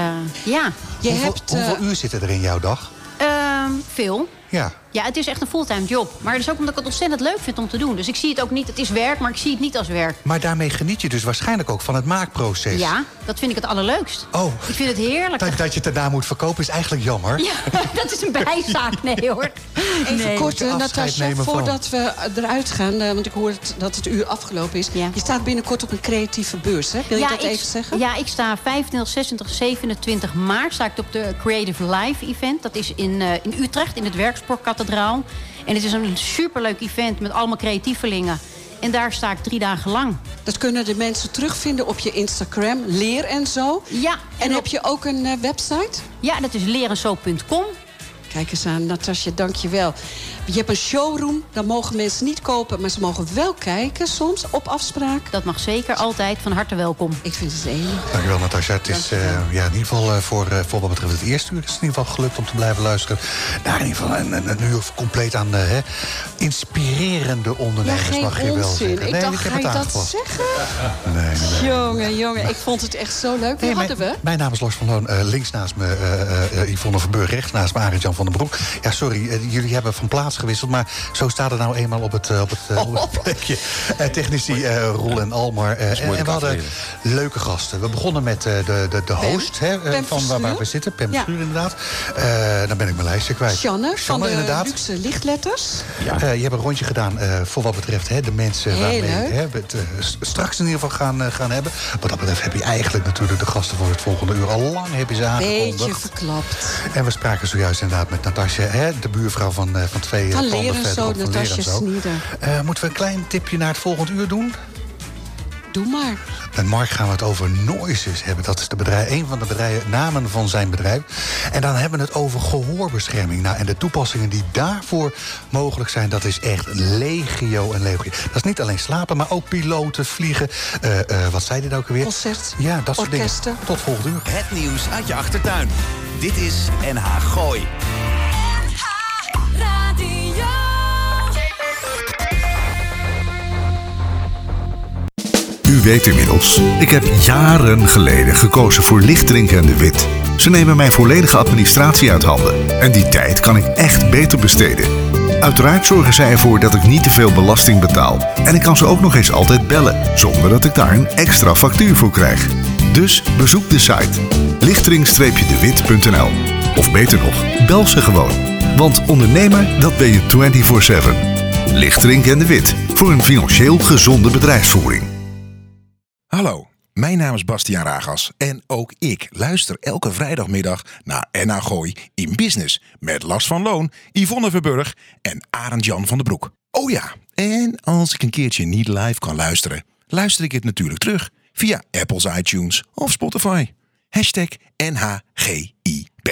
M: ja. Je eh,
C: hoeveel, hoeveel uur zitten er in jouw dag?
M: ehm, veel.
C: Ja.
M: Ja, het is echt een fulltime job. Maar dat is ook omdat ik het ontzettend leuk vind om te doen. Dus ik zie het ook niet, het is werk, maar ik zie het niet als werk.
C: Maar daarmee geniet je dus waarschijnlijk ook van het maakproces.
M: Ja, dat vind ik het allerleukst.
C: Oh.
M: Ik vind het heerlijk.
C: Dat, dat je het daarna moet verkopen is eigenlijk jammer.
M: Ja, dat is een bijzaak, nee hoor.
B: Even kort, eh,
C: Afscheid
B: Natasja,
C: nemen van.
B: voordat we eruit gaan, eh, want ik hoor het- dat het uur afgelopen is. Je staat binnenkort op een creatieve beurs, hè? Wil je dat
M: ik,
B: even zeggen?
M: Ja, ik sta 25, 26, 27 maart sta ik op de Creative Live Event. Dat is in, eh, in Utrecht, in het Werkspoorkathedraal. En het is een superleuk event met allemaal creatievelingen. En daar sta ik drie dagen lang.
B: Dat kunnen de mensen terugvinden op je Instagram, leer en zo.
M: Ja.
B: En, heb je ook een eh, website?
M: Ja, dat is lerenzo.com.
B: Kijk eens aan, Natasja, dankjewel. Je hebt een showroom, dat mogen mensen niet kopen... maar ze mogen wel kijken soms, op afspraak.
M: Dat mag zeker, altijd. Van harte welkom.
B: Ik vind het enig.
C: Dankjewel Natasja. Het is eh, ja, in ieder geval eh, voor, eh, voor wat betreft het eerste uur is het in ieder geval gelukt om te blijven luisteren. Nou, in ieder geval een, een, een uur compleet aan eh, hè, inspirerende ondernemers mag je wel zeggen.
B: Ik
C: nee,
B: dacht,
C: ik heb
B: ga je
C: het
B: dat
C: aangepast.
B: zeggen?
C: Nee, nee, nee.
B: Jongen, jongen, ik vond het echt zo leuk. Wie hadden we?
C: Mijn naam is Lars van Loon. Eh, links naast me eh, eh, Yvonne van Burg. Rechts naast me Arend Jan van den Broek. Ja, sorry, eh, jullie hebben van plaats gewisseld. Maar zo staat het nou eenmaal op het, eh, op het, eh, op
B: Oh.
C: het plekje. Eh, technici eh Roel en Almar. eh, en,
D: moeilijk
C: en we hadden leuke gasten. We begonnen met eh, de, de, de host. Hè, eh,
B: Pem
C: van waar, waar
B: Verschuur.
C: we zitten. Pem
B: Ja.
C: Schuur inderdaad. Eh, dan ben ik mijn lijstje kwijt.
B: Janne, van de
C: inderdaad.
B: Luxe Lichtletters.
C: Ja. je hebt een rondje gedaan eh, voor wat betreft hè, de mensen
B: Heel
C: waarmee
B: leuk.
C: hè, we het eh, s- straks in ieder geval gaan, eh, gaan hebben. Wat dat betreft heb je eigenlijk natuurlijk de gasten voor het volgende uur al lang heb je ze
B: Beetje
C: aangekondigd.
B: verklapt.
C: En we spraken zojuist inderdaad met Natasja, hè, de buurvrouw van, eh, van twee eh,
B: Van
C: panden
B: leren
C: verderop,
B: zo,
C: van Leer en
B: Natasja
C: Zo.
B: Snieder.
C: Eh, moeten we een klein tipje naar het volgend uur doen?
B: Doe maar.
C: Met Mark gaan we het over Noises hebben. Dat is de bedrijf, een van de bedrijven, namen van zijn bedrijf. En dan hebben we het over gehoorbescherming. Nou, en de toepassingen die daarvoor mogelijk zijn, dat is echt legio en legio. Dat is niet alleen slapen, maar ook piloten, vliegen. eh, eh, wat zei dit ook alweer?
A: Concert,
C: Ja, dat soort dingen.
A: orkesten.
C: Tot volgend uur.
A: Het nieuws uit je achtertuin. Dit is NH Gooi.
Q: Radio.
R: U weet inmiddels, ik heb jaren geleden gekozen voor lichtdrinken en de wit. Ze nemen mijn volledige administratie uit handen en die tijd kan ik echt beter besteden. Uiteraard zorgen zij ervoor dat ik niet te veel belasting betaal en ik kan ze ook nog eens altijd bellen zonder dat ik daar een extra factuur voor krijg. Dus bezoek de site lichtering-dewit.nl of beter nog, bel ze gewoon. Want ondernemer, dat ben je 24/7. Lichtering en de Wit voor een financieel gezonde bedrijfsvoering.
S: Hallo, mijn naam is Bastiaan Ragas en ook ik luister elke vrijdagmiddag naar NH Gooi in Business met Lars van Loon, Yvonne Verburg en Arend Jan van den Broek. Oh ja, en als ik een keertje niet live kan luisteren, luister ik het natuurlijk terug via Apple's iTunes of Spotify. Hashtag NHGIB.